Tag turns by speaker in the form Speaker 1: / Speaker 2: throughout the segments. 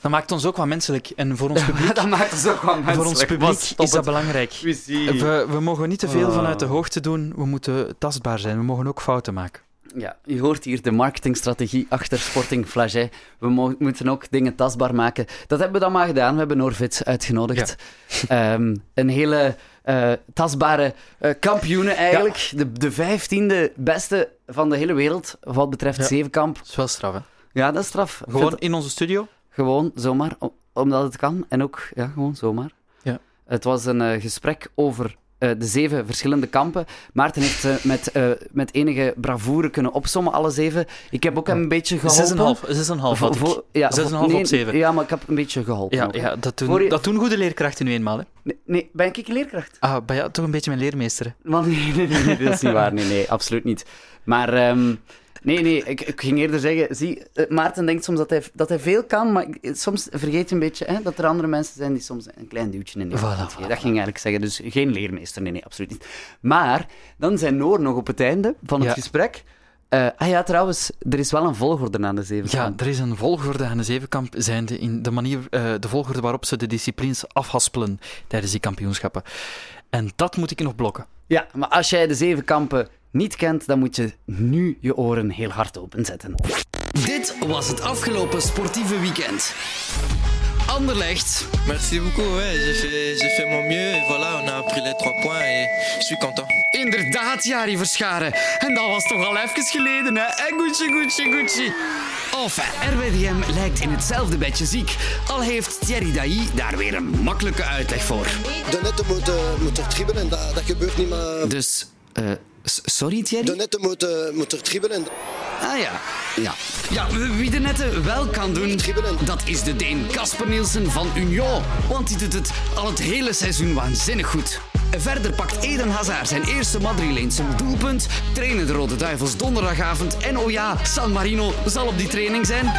Speaker 1: Dat maakt ons ook wat menselijk. En voor ons publiek,
Speaker 2: dat maakt ons ook wel menselijk.
Speaker 1: voor ons
Speaker 2: Maar
Speaker 1: publiek
Speaker 2: stop
Speaker 1: is dat
Speaker 2: het.
Speaker 1: belangrijk.
Speaker 2: Ruzie.
Speaker 1: We, we mogen niet te veel
Speaker 2: Ah.
Speaker 1: vanuit de hoogte doen. We moeten tastbaar zijn. We mogen ook fouten maken.
Speaker 2: Ja, u hoort hier de marketingstrategie achter Sporting Flagey. We mo- moeten ook dingen tastbaar maken. Dat hebben we dan maar gedaan. We hebben Norvits uitgenodigd. Ehm, een hele eh, tastbare eh kampioenen eigenlijk. De, de vijftiende beste van de hele wereld wat betreft
Speaker 1: Ja.
Speaker 2: zevenkamp.
Speaker 1: Dat is wel straf, hè?
Speaker 2: Ja, dat is straf. Ik
Speaker 1: Gewoon
Speaker 2: vind-
Speaker 1: in onze studio.
Speaker 2: gewoon zomaar, o- omdat het kan. En ook ja, gewoon zomaar.
Speaker 1: Ja.
Speaker 2: Het was een eh, gesprek over eh, de zeven verschillende kampen. Maarten heeft eh, met, eh, met enige bravoure kunnen opsommen, alle zeven. Ik heb ook hem een beetje geholpen.
Speaker 1: 6,5. 6,5 had ik.
Speaker 2: Vo- vo- ja,
Speaker 1: Zes en
Speaker 2: vo-
Speaker 1: een half
Speaker 2: nee,
Speaker 1: op zeven.
Speaker 2: Ja, maar ik heb een beetje geholpen.
Speaker 1: Ja,
Speaker 2: ook.
Speaker 1: ja dat,
Speaker 2: Voor
Speaker 1: doen,
Speaker 2: je-
Speaker 1: dat doen goede leerkrachten nu eenmaal. Hè.
Speaker 2: Nee, nee, ben ik een leerkracht?
Speaker 1: Ah, bij jou toch een beetje mijn leermeester. hè.
Speaker 2: Want, nee, nee, nee, nee, dat is niet waar. Nee, nee, absoluut niet. Maar ehm, nee, nee, ik, ik ging eerder zeggen... Zie, eh, Maarten denkt soms dat hij, dat hij veel kan, maar ik- soms vergeet hij een beetje hè, dat er andere mensen zijn die soms een klein duwtje in de hand
Speaker 1: Voilà,
Speaker 2: geven.
Speaker 1: voilà,
Speaker 2: Dat ging ik eigenlijk zeggen. Dus geen leermeester, nee, nee, absoluut niet. Maar dan zijn Noor nog op het einde van het
Speaker 1: Ja.
Speaker 2: gesprek... Eh, ah ja, trouwens, er is wel een volgorde aan de zeven.
Speaker 1: Ja, er is een volgorde aan de zevenkamp, zijnde in de, manier, eh, de volgorde waarop ze de disciplines afhaspelen tijdens die kampioenschappen. En dat moet ik nog blokken.
Speaker 2: Ja, maar als jij de zeven kampen niet kent, dan moet je nu je oren heel hard openzetten.
Speaker 3: Dit was het afgelopen sportieve weekend. Anderlecht,
Speaker 4: Merci beaucoup, ouais, j'ai fait, j'ai fait mon mieux et voilà, on a pris les trois points et je suis content.
Speaker 3: inderdaad, Jari Verscharen. En dat was toch al even geleden, hè? En Gucci, Gucci, Gucci. eh, Enfin, RWDM lijkt in hetzelfde bedje ziek. Al heeft Thierry Dailly daar weer een makkelijke uitleg voor.
Speaker 5: De netten moeten, moeten dribbelen en dat, dat gebeurt niet meer.
Speaker 3: Dus, eh, s- sorry Thierry?
Speaker 5: De netten moeten, moeten dribbelen en
Speaker 3: Ah ja, ja. Ja, wie de netten wel kan doen,
Speaker 5: Dribbelen.
Speaker 3: dat is de Deen Kasper Nielsen van Union. Want die doet het al het hele seizoen waanzinnig goed. Verder pakt Eden Hazard zijn eerste Madrileense doelpunt. Trainen de Rode Duivels donderdagavond. En oh ja, San Marino zal op die training zijn.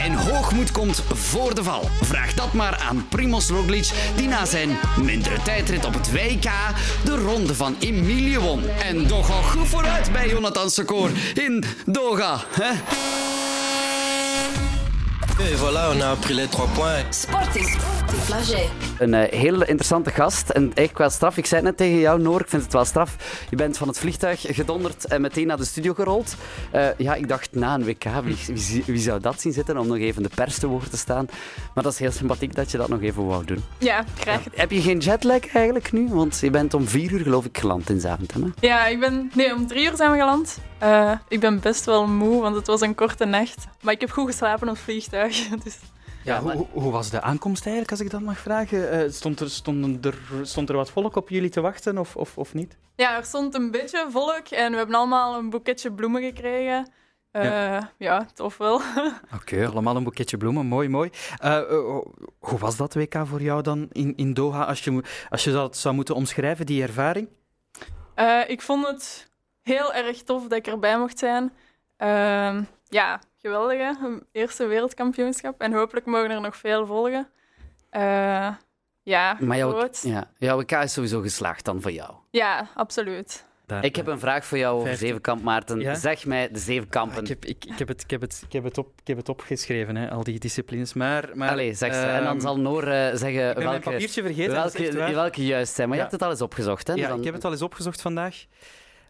Speaker 3: En hoogmoed komt voor de val. Vraag dat maar aan Primoz Roglic, die na zijn mindere tijdrit op het WK de ronde van Emilie won. En toch al goed vooruit bij Jonathan Secoor in Doha. Hè?
Speaker 4: Et voilà, on a pris les trois points.
Speaker 6: Sporting. Flagey.
Speaker 2: Een eh, heel interessante gast en echt wel straf. Ik zei het net tegen jou, Noor, ik vind het wel straf. Je bent van het vliegtuig gedonderd en meteen naar de studio gerold. Eh, ja, ik dacht na een WK, wie, wie, zie- wie zou dat zien zitten om nog even de pers te woord te staan? Maar dat is heel sympathiek dat je dat nog even wou doen.
Speaker 7: Ja, graag.
Speaker 2: Heb je geen jetlag eigenlijk nu? Want je bent om vier uur geloof ik geland in Zaventem. hè?
Speaker 7: Ja, ik ben... Nee, om drie uur zijn we geland. Eh, ik ben best wel moe, want het was een korte nacht. Maar ik heb goed geslapen op het vliegtuig. Dus...
Speaker 1: Ja,
Speaker 2: maar-
Speaker 1: hoe, hoe was de aankomst eigenlijk, als ik dat mag vragen? Eh, stond, er, stonden er, stond er wat volk op jullie te wachten of, of, of niet?
Speaker 7: Ja, er stond een beetje volk en we hebben allemaal een boeketje bloemen gekregen. Eh, ja. tof wel.
Speaker 1: Oké, allemaal een boeketje bloemen. Mooi, mooi. Eh, eh, hoe was dat WK voor jou dan in, in Doha, als je, mo- als je dat zou moeten omschrijven, die ervaring?
Speaker 7: Eh, ik vond het heel erg tof dat ik erbij mocht zijn. Ehm, ja, geweldig hè? Een Eerste wereldkampioenschap. En hopelijk mogen er nog veel volgen. Eh, ja,
Speaker 2: Maar jouw,
Speaker 7: groot.
Speaker 2: ja, jouw WK is sowieso geslaagd dan voor jou.
Speaker 7: Ja, absoluut.
Speaker 1: Daar-
Speaker 2: Ik heb een vraag voor jou over
Speaker 1: Vijftien.
Speaker 2: Zevenkamp, Maarten.
Speaker 1: Ja? Ah,
Speaker 2: Zeg mij de Zevenkampen.
Speaker 1: Ik heb, ik, ik, heb het, ik, heb het, ik, heb het op, ik heb het opgeschreven, hè, al die disciplines. Maar, maar,
Speaker 2: Allee, zeg ze. en dan
Speaker 1: eh, ehm,
Speaker 2: zal Noor eh, zeggen
Speaker 1: Ik ben mijn
Speaker 2: welke,
Speaker 1: papiertje vergeten. dat is
Speaker 2: welke,
Speaker 1: echt waar.
Speaker 2: welke juist zijn. Maar
Speaker 1: Ja.
Speaker 2: je hebt het al eens opgezocht, hè? Dus
Speaker 1: Ja,
Speaker 2: Dan-
Speaker 1: ik heb het al eens opgezocht vandaag.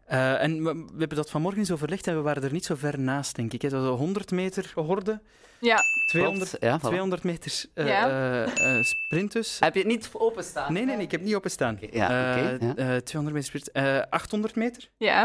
Speaker 1: Eh, en we, we hebben dat vanmorgen eens overlegd en we waren er niet zo ver naast, denk ik. hè. Dat was een 100 meter horde,
Speaker 7: Ja,
Speaker 1: 200,
Speaker 2: Klopt, ja, voilà.
Speaker 1: 200 meter eh
Speaker 7: Ja.
Speaker 1: eh, eh, sprint dus.
Speaker 2: Heb je het niet openstaan?
Speaker 1: Nee, nee, nee, ik heb niet openstaan.
Speaker 2: Oké, ja,
Speaker 1: Eh,
Speaker 2: oké, ja.
Speaker 1: eh, 200 meter sprint, eh, 800 meter.
Speaker 7: ja.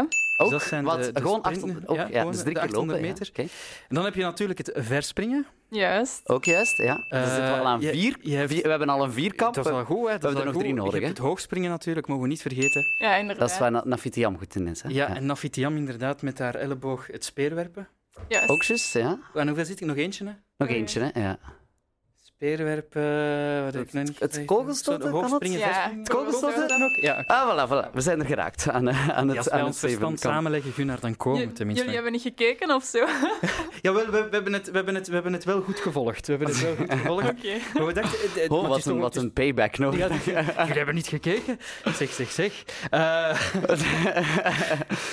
Speaker 1: Dus
Speaker 2: Ook?
Speaker 1: dat zijn
Speaker 2: Wat?
Speaker 1: de- de
Speaker 2: gewoon
Speaker 1: sprinten.
Speaker 2: 800 ook,
Speaker 1: Ja,
Speaker 2: ja,
Speaker 1: gewoon
Speaker 2: dus drie
Speaker 1: de
Speaker 2: keer lopen.
Speaker 1: 800
Speaker 2: ja.
Speaker 1: meter.
Speaker 2: Oké.
Speaker 1: En dan heb je natuurlijk het verspringen.
Speaker 7: Juist.
Speaker 2: Ook juist, ja. Dan
Speaker 1: Eh,
Speaker 2: zitten we al aan
Speaker 1: je-
Speaker 2: vier.
Speaker 1: je hebt-
Speaker 2: Vier- We hebben al een vierkamp.
Speaker 1: Dat is wel goed, hè.
Speaker 2: hebben
Speaker 1: Dat is
Speaker 2: er
Speaker 1: wel
Speaker 2: nog drie
Speaker 1: goed.
Speaker 2: nodig,
Speaker 1: Je hebt
Speaker 2: hè.
Speaker 1: het hoogspringen natuurlijk, mogen we niet vergeten.
Speaker 7: Ja, inderdaad.
Speaker 2: Dat is waar Na- Nafitiam goed in is, hè?
Speaker 1: Ja, en Nafitiam inderdaad met haar elleboog het speerwerpen.
Speaker 7: Juist.
Speaker 2: Ook juist, ja.
Speaker 1: En hoeveel zit ik? Nog eentje, hè?
Speaker 2: Nog eentje, hè? Ja.
Speaker 8: Speerwerpen,
Speaker 1: eh,
Speaker 8: wat heb ik nog niet
Speaker 2: het
Speaker 8: gezegd?
Speaker 2: kogelstoten,
Speaker 8: Zo,
Speaker 2: kan het?
Speaker 8: hoogspringen,
Speaker 7: Ja,
Speaker 8: vesten.
Speaker 7: het
Speaker 2: kogelstoten?
Speaker 8: Kan dat ook? Ja, oké.
Speaker 2: Ah, voilà, voilà. We zijn er geraakt aan, eh, aan het,
Speaker 1: Als wij
Speaker 2: aan
Speaker 1: ons
Speaker 2: het zeven
Speaker 1: verstand samenleggen, Gunnar, dan komen we
Speaker 7: J-
Speaker 1: tenminste.
Speaker 7: jullie hebben niet gekeken of zo? Oké.
Speaker 1: Jawel, we, we, hebben het, we, hebben het, we hebben het wel goed gevolgd. We hebben het wel goed gevolgd. Maar we dachten, eh, eh,
Speaker 2: Oh,
Speaker 1: maar het is
Speaker 2: wat een,
Speaker 1: toch-
Speaker 2: wat
Speaker 1: het
Speaker 2: een payback nog.
Speaker 1: is- Ja, jullie hebben niet gekeken. Zeg, zeg, zeg. Eh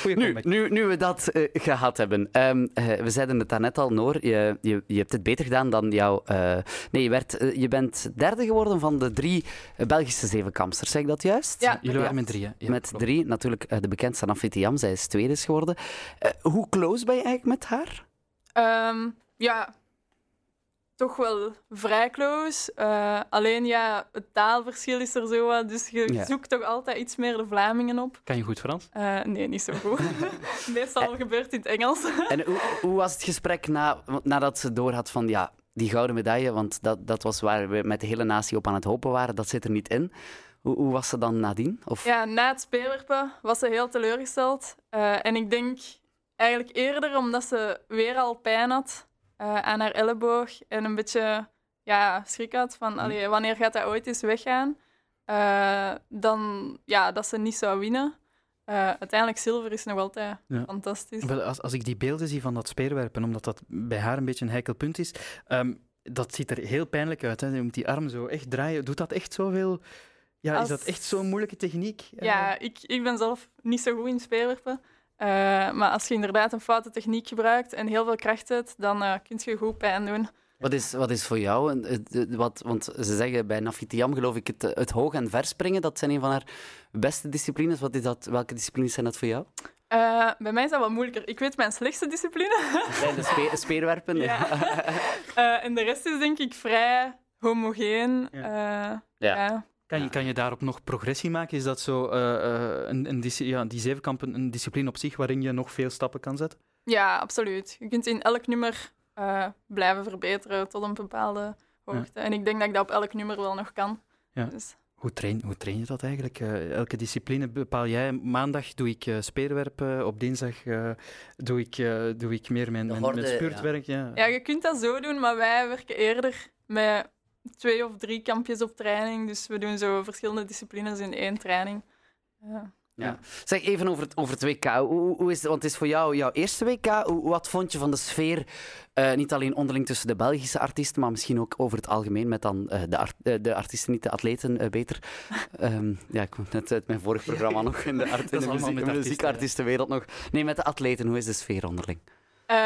Speaker 1: goeie
Speaker 2: Nu,
Speaker 1: comeback.
Speaker 2: nu, nu we dat eh, gehad hebben. Ehm, eh, we zeiden het daarnet al, Noor. Je, je, je hebt het beter gedaan dan jouw... eh, nee, je, werd, eh, je bent derde geworden van de drie eh, Belgische zevenkampsters. Zeg ik dat juist?
Speaker 7: Ja.
Speaker 1: Jullie waren met drie, hè? Ja,
Speaker 2: met
Speaker 1: klopt.
Speaker 2: drie. Natuurlijk eh, de bekendste Nafiti Yam. Zij is tweede is geworden. Eh, hoe close ben je eigenlijk met haar?
Speaker 7: Ehm, ja, toch wel vrij close. Eh, alleen ja, het taalverschil is er zo wat, dus je
Speaker 2: Ja.
Speaker 7: zoekt toch altijd iets meer de Vlamingen op.
Speaker 1: Kan je goed Frans?
Speaker 7: Eh, nee, niet zo goed. Meestal gebeurt het in het Engels.
Speaker 2: Eh. En hoe, hoe was het gesprek na, nadat ze door had van... Ja, die gouden medaille, want dat, dat was waar we met de hele natie op aan het hopen waren. Dat zit er niet in. Hoe, hoe was ze dan nadien? Of...
Speaker 7: Ja, na het speelwerpen was ze heel teleurgesteld. Eh, en ik denk eigenlijk eerder omdat ze weer al pijn had eh, aan haar elleboog en een beetje ja, schrik had
Speaker 1: Mm.
Speaker 7: van allee, wanneer gaat dat ooit eens weggaan, Eh, dan ja, dat ze niet zou winnen. Eh, uiteindelijk zilver is nog altijd
Speaker 1: Ja.
Speaker 7: fantastisch.
Speaker 1: Wel, als, als ik die beelden zie van dat speerwerpen, omdat dat bij haar een beetje een heikel punt is, ehm, dat ziet er heel pijnlijk uit. Hè. Je moet die arm zo echt draaien. Doet dat echt zoveel? Ja,
Speaker 7: Als-
Speaker 1: is dat echt zo'n moeilijke techniek?
Speaker 7: Ja, ik, ik ben zelf niet zo goed in speelwerpen. Eh, maar als je inderdaad een foute techniek gebruikt en heel veel kracht hebt, dan eh kun je goed pijn doen.
Speaker 2: Wat is, wat is voor jou, een- het- het- wat, want ze zeggen bij Nafitiam geloof ik, het, het hoog en verspringen, dat zijn een van haar beste disciplines. Wat is dat, welke disciplines zijn dat voor jou?
Speaker 7: Eh, bij mij is dat wat moeilijker. Ik weet mijn slechtste discipline.
Speaker 2: Zijn de spe- speerwerpen?
Speaker 7: Ja. Eh, en de rest is denk ik vrij homogeen. Eh, Ja.
Speaker 1: Kan, je, kan je daarop nog progressie maken? Is dat zo, eh, eh, een, een, disci- ja, die zevenkamp een, een discipline op zich waarin je nog veel stappen kan zetten?
Speaker 7: Ja, absoluut. Je kunt in elk nummer eh, blijven verbeteren tot een bepaalde hoogte. En ik denk dat ik dat op elk nummer wel nog kan.
Speaker 1: Ja.
Speaker 7: Dus,
Speaker 1: Hoe train, hoe train je dat eigenlijk? Eh, elke discipline bepaal jij. Maandag doe ik eh, speerwerpen, op dinsdag eh, doe, ik, eh, doe ik meer mijn,
Speaker 2: De
Speaker 1: mijn,
Speaker 2: horde,
Speaker 1: mijn spurtwerk. Ja.
Speaker 7: ja, je kunt dat zo doen, maar wij werken eerder met twee of drie kampjes op training. Dus we doen zo verschillende disciplines in één training. Eh, Ja.
Speaker 2: Zeg even over het, over het WK. Hoe, hoe- hoe is het, want het is voor jou jouw eerste WK. Hoe, wat vond je van de sfeer, eh, niet alleen onderling tussen de Belgische artiesten, maar misschien ook over het algemeen met dan eh, de, art- eh, de artiesten, niet de atleten, eh, beter. Ehm, ja, ik kwam net uit mijn vorig programma nog in de, art, in de,
Speaker 1: allemaal
Speaker 2: muziek,
Speaker 1: met
Speaker 2: in de
Speaker 1: artiesten,
Speaker 2: muziekartiestenwereld nog. Nee, met de atleten, hoe is de sfeer onderling?
Speaker 7: Eh,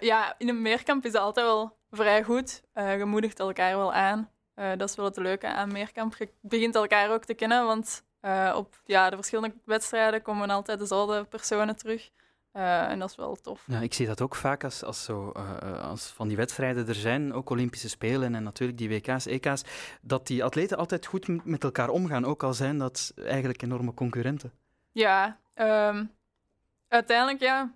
Speaker 7: ja, in een meerkamp is dat altijd wel vrij goed. Eh, je moedigt elkaar wel aan. Eh, dat is wel het leuke aan meerkamp. Je begint elkaar ook te kennen, want eh, op ja, de verschillende wedstrijden komen altijd dezelfde personen terug. Eh, en dat is wel tof.
Speaker 1: Ja, ik zie dat ook vaak als, als, zo, eh, eh, als van die wedstrijden er zijn, ook Olympische Spelen en natuurlijk die WK's, EK's, dat die atleten altijd goed m- met elkaar omgaan, ook al zijn dat eigenlijk enorme concurrenten.
Speaker 7: Ja, ehm, uiteindelijk ja.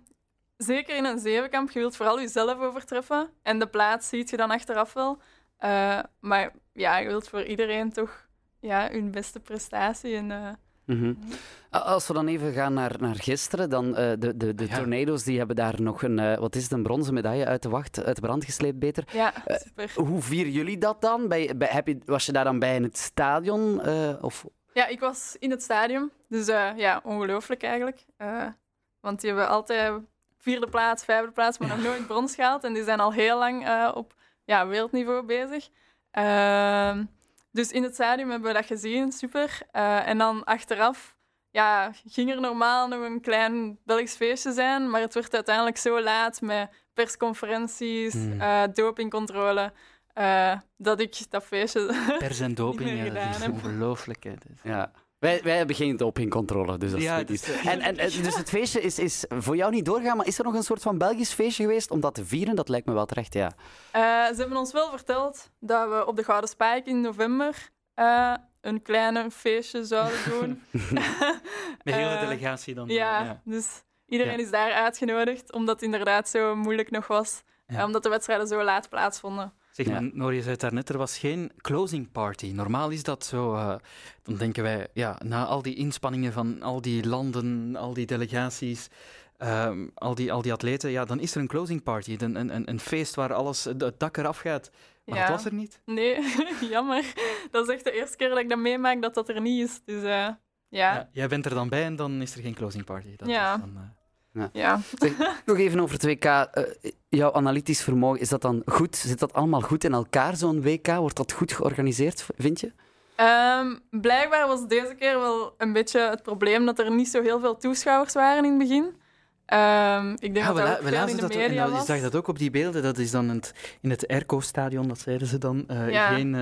Speaker 7: Zeker in een zevenkamp, je wilt vooral jezelf overtreffen. En de plaats ziet je dan achteraf wel. Eh, maar ja, je wilt voor iedereen toch ja, hun beste prestatie. En, eh,
Speaker 2: Mhm. A- Als we dan even gaan naar, naar gisteren, dan eh, de, de, de
Speaker 1: Ja.
Speaker 2: tornado's die hebben daar nog een, eh, wat is het, een bronzen medaille uit de wacht, uit de brand gesleept beter.
Speaker 7: ja, super.
Speaker 2: Hoe vieren jullie dat dan? Bij, bij, heb je, was je daar dan bij in het stadion? eh, of,
Speaker 7: Ja, ik was in het stadion. Dus eh, ja, ongelooflijk eigenlijk. Eh, want die hebben altijd vierde plaats, vijfde plaats, maar nog nooit brons gehaald. En die zijn al heel lang eh, op ja, wereldniveau bezig. Ehm, dus in het stadion hebben we dat gezien, super. Eh, en dan achteraf ja, ging er normaal nog een klein Belgisch feestje zijn. Maar het werd uiteindelijk zo laat met persconferenties,
Speaker 1: Hmm.
Speaker 7: eh, dopingcontrole, eh, dat ik dat feestje
Speaker 1: Pers en
Speaker 7: Niet
Speaker 1: doping,
Speaker 7: meer
Speaker 1: ja, dat is
Speaker 7: gedaan, hè.
Speaker 1: ongelooflijk. hè. Dat is-
Speaker 2: ja. wij, wij hebben geen dopingcontrole, dus dat is
Speaker 1: Ja,
Speaker 2: goed
Speaker 1: dus,
Speaker 2: nieuws. en, en, en Dus het feestje is, is voor jou niet doorgaan, maar is er nog een soort van Belgisch feestje geweest om dat te vieren? Dat lijkt me wel terecht, ja.
Speaker 7: Eh, ze hebben ons wel verteld dat we op de Gouden Spijk in november eh, een kleine feestje zouden doen.
Speaker 1: Met heel de
Speaker 7: Eh,
Speaker 1: delegatie dan.
Speaker 7: ja,
Speaker 1: ja.
Speaker 7: dus iedereen is daar uitgenodigd, omdat het inderdaad zo moeilijk nog was.
Speaker 1: Ja.
Speaker 7: eh, omdat de wedstrijden zo laat plaatsvonden.
Speaker 1: Zeg
Speaker 2: Ja.
Speaker 1: maar, Noor, je zei het daarnet, er was geen closing party. Normaal is dat zo. eh, dan denken wij, ja, na al die inspanningen van al die landen, al die delegaties, ehm, al, die, al die atleten, ja, dan is er een closing party. Een, een, een, een feest waar alles, eh, het dak eraf gaat. Maar
Speaker 7: ja.
Speaker 1: dat was er niet.
Speaker 7: Nee, jammer. Dat is echt de eerste keer dat ik dat meemaak dat dat er niet is. Dus eh, ja. ja.
Speaker 1: Ja, jij bent er dan bij en dan is er geen closing party. Dat
Speaker 7: Ja.
Speaker 1: is dan, eh,
Speaker 2: Nog even over het WK. Eh, jouw analytisch vermogen, is dat dan goed? Zit dat allemaal goed in elkaar, zo'n WK? Wordt dat goed georganiseerd, vind je?
Speaker 7: Ehm, blijkbaar was deze keer wel een beetje het probleem dat er niet zo heel veel toeschouwers waren in het begin. Ehm, ik denk
Speaker 1: Ja,
Speaker 7: dat
Speaker 1: we,
Speaker 7: dat
Speaker 1: la-
Speaker 7: ook
Speaker 1: we
Speaker 7: veel
Speaker 1: lazen
Speaker 7: in de
Speaker 1: dat ook- en
Speaker 7: media
Speaker 1: dan- je
Speaker 7: was.
Speaker 1: zag dat ook op die beelden. Dat is dan in het, in het Airco-stadion, dat zeiden ze dan. eh,
Speaker 7: Ja.
Speaker 1: geen, eh,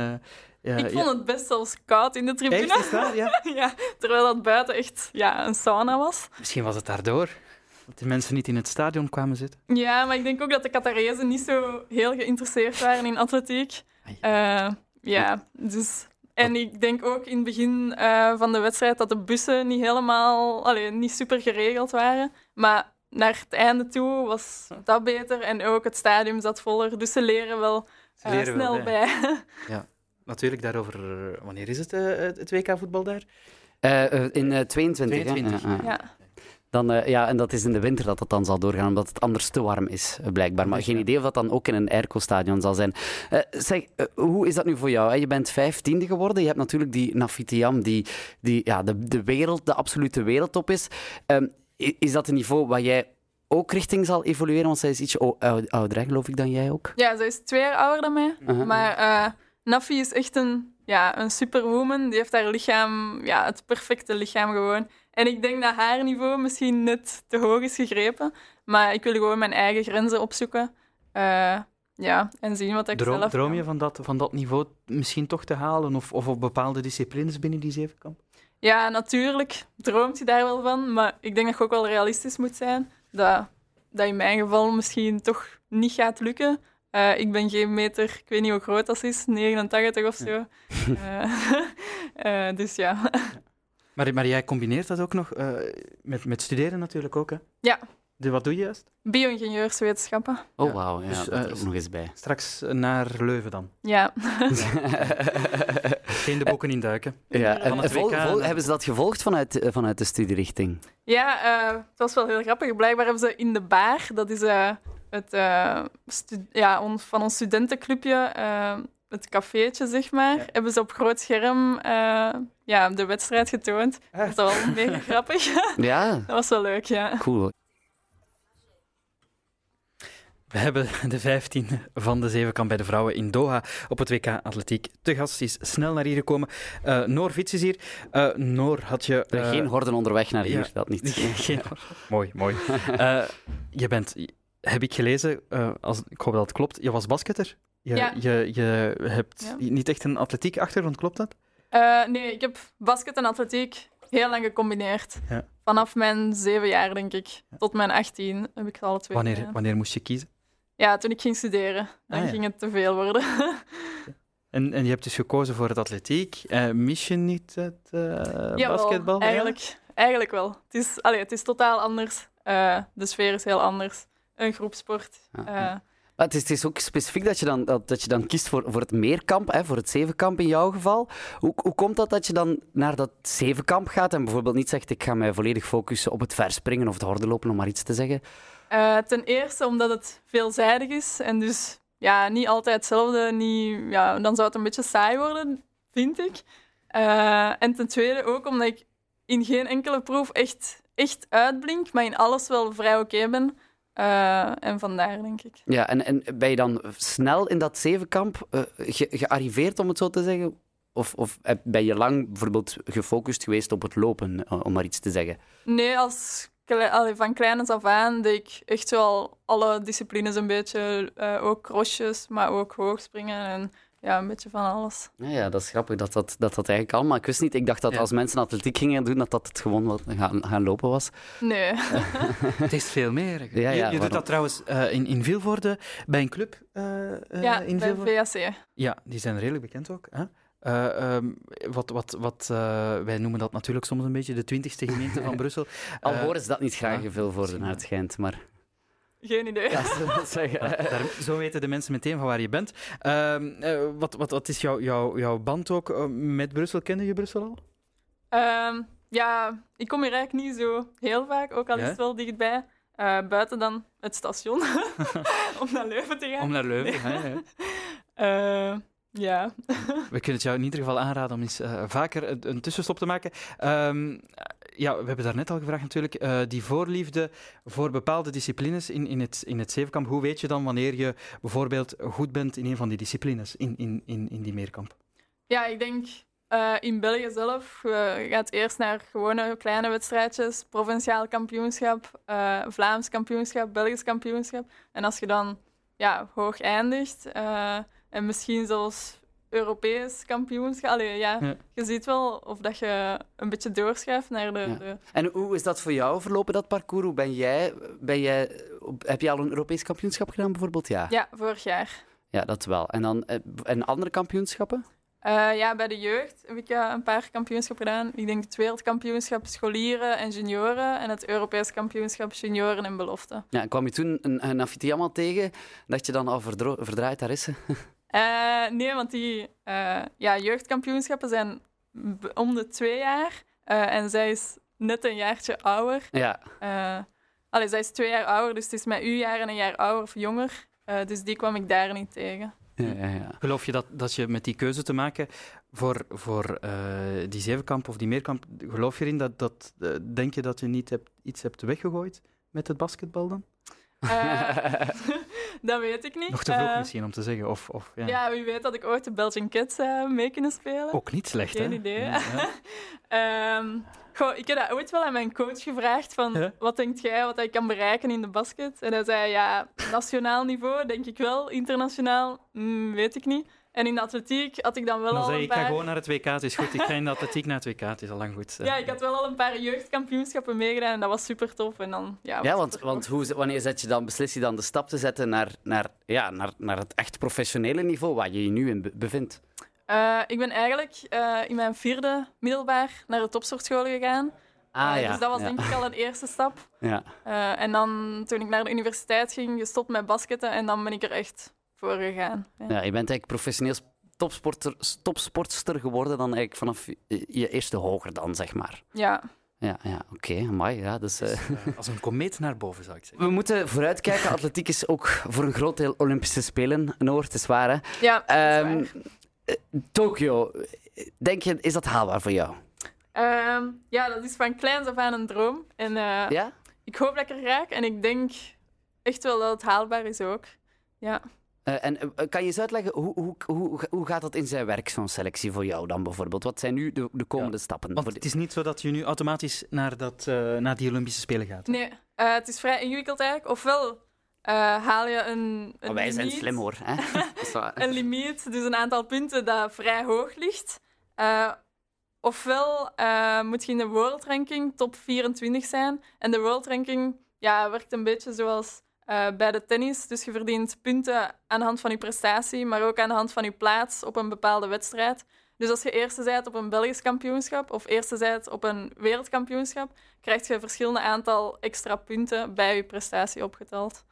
Speaker 1: ja,
Speaker 7: ik vond
Speaker 1: ja.
Speaker 7: het best zelfs koud in de tribune.
Speaker 1: Echt, is dat? Ja.
Speaker 7: ja, terwijl dat buiten echt ja, een sauna was.
Speaker 1: Misschien was het daardoor. Dat de mensen niet in het stadion kwamen zitten.
Speaker 7: Ja, maar ik denk ook dat de Qatarezen niet zo heel geïnteresseerd waren in atletiek. Eh, ja, dus... En ik denk ook in het begin eh, van de wedstrijd dat de bussen niet helemaal... Allee, niet super geregeld waren. Maar naar het einde toe was dat beter. En ook het stadion zat voller. Dus ze leren wel
Speaker 1: Ze
Speaker 7: eh,
Speaker 1: leren wel
Speaker 7: snel
Speaker 1: bij.
Speaker 7: bij.
Speaker 1: Natuurlijk, daarover... eh, Wanneer is het, eh, het het WK-voetbal daar?
Speaker 2: Eh, eh, in eh, 22, hè?
Speaker 1: 22,
Speaker 2: Ja, ja.
Speaker 7: ja.
Speaker 2: Dan, eh, ja, en dat is in de winter dat dat dan zal doorgaan, omdat het anders te warm is, eh, blijkbaar. Maar
Speaker 1: Dus,
Speaker 2: geen
Speaker 1: ja.
Speaker 2: idee of dat dan ook in een airco-stadion zal zijn. Eh, zeg, eh, hoe is dat nu voor jou? hè? Je bent vijftiende geworden. Je hebt natuurlijk die Nafitiam, die, die ja, de, de, wereld, de absolute wereldtop is. Ehm, i- is dat een niveau waar jij ook richting zal evolueren? Want zij is iets ou- ou- ouder, hè, geloof ik, dan jij ook.
Speaker 7: Ja, zij is twee jaar ouder dan mij.
Speaker 2: Mhm.
Speaker 7: Maar eh, Nafi is echt een, ja, een superwoman. Die heeft haar lichaam, ja, het perfecte lichaam gewoon. En ik denk dat haar niveau misschien net te hoog is gegrepen. Maar ik wil gewoon mijn eigen grenzen opzoeken. Eh, ja, en zien wat ik
Speaker 1: Droom,
Speaker 7: zelf
Speaker 1: droom
Speaker 7: kan.
Speaker 1: je van dat, van dat niveau misschien toch te halen? Of, of op bepaalde disciplines binnen die zevenkamp?
Speaker 7: Ja, natuurlijk droomt je daar wel van. Maar ik denk dat je ook wel realistisch moet zijn. Dat, dat in mijn geval misschien toch niet gaat lukken. Eh, ik ben geen meter, ik weet niet hoe groot dat is, 89 of zo. Eh, eh, dus ja.
Speaker 1: Maar, maar jij combineert dat ook nog eh, met, met studeren natuurlijk ook, hè?
Speaker 7: Ja.
Speaker 1: De, wat doe je juist?
Speaker 7: Bio-ingenieurswetenschappen.
Speaker 2: Oh,
Speaker 1: Ja.
Speaker 2: wauw. Ja,
Speaker 1: Dus,
Speaker 2: dat er
Speaker 1: eh,
Speaker 2: ook nog eens bij.
Speaker 1: Straks naar Leuven dan.
Speaker 7: Ja.
Speaker 1: Geen de
Speaker 7: Eh,
Speaker 1: boeken induiken.
Speaker 2: ja, en
Speaker 1: Van het
Speaker 2: vol-
Speaker 1: WK
Speaker 2: vol-
Speaker 1: naar-
Speaker 2: hebben ze dat gevolgd vanuit, eh, vanuit de studierichting?
Speaker 7: Ja, eh, het was wel heel grappig. Blijkbaar hebben ze in de bar, dat is eh, het, eh, stu- ja, ons- van ons studentenclubje, eh, het cafeetje zeg maar, hebben ze op groot scherm eh, ja, de wedstrijd getoond.
Speaker 1: Ah.
Speaker 7: Dat was wel mega grappig.
Speaker 2: Ja,
Speaker 7: dat was wel leuk, ja.
Speaker 2: cool.
Speaker 1: We hebben de 15 van de zevenkamp bij de vrouwen in Doha op het WK Atletiek. Te gast is snel naar hier gekomen. Eh, Noor Fiets is hier. Eh, Noor, had je...
Speaker 2: Er
Speaker 1: eh,
Speaker 2: geen horden onderweg naar hier,
Speaker 1: ja.
Speaker 2: dat niet.
Speaker 1: geen- mooi, mooi. Eh, je bent, heb ik gelezen, eh, als, ik hoop dat het klopt, je was basketter. Je,
Speaker 7: Ja.
Speaker 1: je, je hebt
Speaker 7: Ja.
Speaker 1: niet echt een atletiek achtergrond, klopt dat?
Speaker 7: Eh, nee, ik heb basket en atletiek heel lang gecombineerd.
Speaker 1: Ja.
Speaker 7: Vanaf mijn zeven jaar, denk ik, tot mijn 18 heb ik het alle twee
Speaker 1: Wanneer,
Speaker 7: gedaan.
Speaker 1: wanneer moest je kiezen?
Speaker 7: Ja, toen ik ging studeren. Dan
Speaker 1: Ah, ja.
Speaker 7: ging het te veel worden.
Speaker 1: En, en je hebt dus gekozen voor het atletiek. Eh mis je niet het eh,
Speaker 7: Jawel,
Speaker 1: basketbal?
Speaker 7: Eigenlijk, eigenlijk wel. Het is, allee, het is totaal anders. Eh, de sfeer is heel anders. Een groepsport.
Speaker 2: Ja,
Speaker 7: Eh,
Speaker 2: ja. Maar het, is, het is ook specifiek dat je dan, dat, dat je dan kiest voor, voor het meerkamp, hè, voor het zevenkamp in jouw geval. Hoe, hoe komt dat dat je dan naar dat zevenkamp gaat en bijvoorbeeld niet zegt ik ga mij volledig focussen op het verspringen of het hordenlopen, om maar iets te zeggen?
Speaker 7: eh, ten eerste omdat het veelzijdig is. En dus ja, niet altijd hetzelfde. Niet, ja, dan zou het een beetje saai worden, vind ik. Eh, en ten tweede ook omdat ik in geen enkele proef echt, echt uitblink, maar in alles wel vrij oké ben. Eh, en vandaar, denk ik.
Speaker 2: Ja, en, en ben je dan snel in dat zevenkamp eh, ge- gearriveerd, om het zo te zeggen? Of, of heb- ben je lang bijvoorbeeld gefocust geweest op het lopen, eh, om maar iets te zeggen?
Speaker 7: Nee, als kle- allee, van kleins af aan deed ik echt wel alle disciplines een beetje. eh, ook crossjes, maar ook hoogspringen en ja, een beetje van alles.
Speaker 2: Ja, ja, dat is grappig dat dat, dat dat eigenlijk allemaal... Ik wist niet, ik dacht dat
Speaker 1: Ja.
Speaker 2: als mensen atletiek gingen doen, dat dat het gewoon wat gaan, gaan lopen was.
Speaker 7: Nee.
Speaker 1: Het is veel meer.
Speaker 2: ja,
Speaker 1: je je doet
Speaker 2: waarom?
Speaker 1: dat trouwens eh, in, in Vilvoorde, bij een club eh, eh,
Speaker 7: ja,
Speaker 1: in
Speaker 7: bij
Speaker 1: Vilvoorde.
Speaker 7: VAC.
Speaker 1: Ja, die zijn redelijk bekend ook. Hè? Eh, ehm, wat wat, wat eh, wij noemen dat natuurlijk soms een beetje de twintigste gemeente van Brussel.
Speaker 2: Al
Speaker 1: Eh,
Speaker 2: horen ze dat niet graag
Speaker 1: ja,
Speaker 2: in veel voor
Speaker 1: misschien,
Speaker 2: naar het schijnt, maar...
Speaker 7: Geen idee.
Speaker 2: Ja, ze dat zeggen.
Speaker 1: daar- zo weten de mensen meteen van waar je bent. Ehm, eh, wat, wat, wat is jouw jouw jouw band ook eh, met Brussel? Kende je Brussel al?
Speaker 7: Ehm, ja, ik kom hier eigenlijk niet zo heel vaak, ook al
Speaker 1: Ja?
Speaker 7: is het wel dichtbij. Eh, buiten dan het station, om naar Leuven te gaan.
Speaker 1: naar Leuven.
Speaker 7: hè, Eh, ja.
Speaker 1: We kunnen het jou in ieder geval aanraden om eens eh, vaker een, een tussenstop te maken. Ehm, ja, we hebben daarnet al gevraagd natuurlijk, eh, die voorliefde voor bepaalde disciplines in, in, het, in het zevenkamp. Hoe weet je dan wanneer je bijvoorbeeld goed bent in een van die disciplines in, in, in, in die meerkamp?
Speaker 7: Ja, ik denk eh, in België zelf. eh, Je gaat eerst naar gewone kleine wedstrijdjes. Provinciaal kampioenschap, eh, Vlaams kampioenschap, Belgisch kampioenschap. En als je dan ja, hoog eindigt eh, en misschien zelfs Europees kampioenschap. Allee, ja,
Speaker 1: Ja.
Speaker 7: Je ziet wel of dat je een beetje doorschuift naar de...
Speaker 2: Ja.
Speaker 7: de-
Speaker 2: En hoe is dat voor jou verlopen, dat parcours? Hoe ben jij, ben jij, heb je al een Europees kampioenschap gedaan, bijvoorbeeld? Ja,
Speaker 7: ja vorig jaar.
Speaker 2: ja dat wel. En, dan, eh, en andere kampioenschappen?
Speaker 7: Eh, ja, bij de jeugd heb ik eh, een paar kampioenschappen gedaan. Ik denk het wereldkampioenschap scholieren en junioren en het Europees kampioenschap junioren en belofte.
Speaker 2: Ja, en kwam je toen een, een Afitiyama tegen, dat je dan al verdro- verdraaid daar is? ze?
Speaker 7: Eh, nee, want die eh, ja, jeugdkampioenschappen zijn b- om de twee jaar eh, en zij is net een jaartje ouder.
Speaker 2: Ja,
Speaker 7: Eh allee, zij is twee jaar ouder, dus het is met u jaar en een jaar ouder of jonger. Eh, dus die kwam ik daar niet tegen.
Speaker 2: ja, ja. ja.
Speaker 1: Geloof je dat, dat je met die keuze te maken voor, voor eh, die zevenkamp of die meerkamp, geloof je erin dat, dat eh, denk je dat je niet hebt, iets hebt weggegooid met het basketbal dan?
Speaker 7: Eh, dat weet ik niet.
Speaker 1: Nog te vroeg
Speaker 7: Eh,
Speaker 1: misschien om te zeggen. Of, of, ja.
Speaker 7: Ja, wie weet dat ik ooit de Belgian Kids eh, mee kunnen spelen.
Speaker 1: Ook niet slecht,
Speaker 7: Geen
Speaker 1: hè?
Speaker 7: idee.
Speaker 1: Ja, ja.
Speaker 7: Ehm, goh, ik heb dat ooit wel aan mijn coach gevraagd van
Speaker 1: Ja.
Speaker 7: wat denkt jij wat ik kan bereiken in de basket? En hij zei ja, nationaal niveau denk ik wel, internationaal mm, weet ik niet. En in de atletiek had ik dan wel
Speaker 1: Dan
Speaker 7: al
Speaker 1: zeg je,
Speaker 7: een
Speaker 1: ik ga
Speaker 7: paar...
Speaker 1: gewoon naar het WK, het is goed. Ik ga in de atletiek naar het WK, het is al lang goed. eh.
Speaker 7: Ja, ik had wel al een paar jeugdkampioenschappen meegedaan en dat was super tof. En dan, ja,
Speaker 2: Ja,
Speaker 7: was
Speaker 2: want,
Speaker 7: super
Speaker 2: want
Speaker 7: tof.
Speaker 2: hoe, ze- wanneer zet je dan, beslis je dan de stap te zetten naar, naar, ja, naar, naar het echt professionele niveau waar je je nu in be- bevindt?
Speaker 7: Eh, ik ben eigenlijk eh, in mijn vierde middelbaar naar de topsportschool gegaan.
Speaker 1: Ah,
Speaker 7: Eh, Dus dat was denk ik al een eerste stap.
Speaker 2: Ja.
Speaker 7: Eh, en dan toen ik naar de universiteit ging, gestopt met basketten en dan ben ik er echt voor gegaan. Ja.
Speaker 2: Ja, je bent eigenlijk professioneel s- topsporter, s- topsportster geworden dan eigenlijk vanaf je- je eerste hoger dan, zeg maar.
Speaker 7: Ja.
Speaker 2: Ja, ja oké, amai, ja, dus... eh,
Speaker 1: Als een komeet naar boven, zou ik zeggen.
Speaker 2: We moeten vooruitkijken. Atletiek is ook voor een groot deel Olympische Spelen, Noord, het is waar, hè?
Speaker 7: Ja, dat is
Speaker 2: Ehm,
Speaker 7: waar.
Speaker 2: eh, Tokio, denk je, is dat haalbaar voor jou?
Speaker 7: Ehm, ja, dat is van kleins af aan een droom. En eh,
Speaker 2: Ja?
Speaker 7: ik hoop dat ik er raak en ik denk echt wel dat het haalbaar is ook. Ja.
Speaker 2: Eh, en eh, kan je eens uitleggen, hoe, hoe, hoe, hoe gaat dat in zijn werk, zo'n selectie voor jou dan bijvoorbeeld? Wat zijn nu de, de komende stappen?
Speaker 1: Want
Speaker 2: voor
Speaker 1: het
Speaker 2: die-
Speaker 1: is niet zo dat je nu automatisch naar, dat, eh, naar die Olympische Spelen gaat.
Speaker 7: Nee, eh, het is vrij ingewikkeld eigenlijk. Ofwel eh, haal je een, een
Speaker 2: Maar Oh, wij zijn
Speaker 7: limiet-
Speaker 2: slim hoor. Hè? Dat is waar.
Speaker 7: een limiet, dus een aantal punten dat vrij hoog ligt. Eh, ofwel eh, moet je in de wereldranking top 24 zijn. En de wereldranking ja, werkt een beetje zoals eh, bij de tennis. Dus je verdient punten aan de hand van je prestatie, maar ook aan de hand van je plaats op een bepaalde wedstrijd. Dus als je eerste zijt op een Belgisch kampioenschap of eerste zijt op een wereldkampioenschap, krijg je een verschillende aantal extra punten bij je prestatie opgeteld.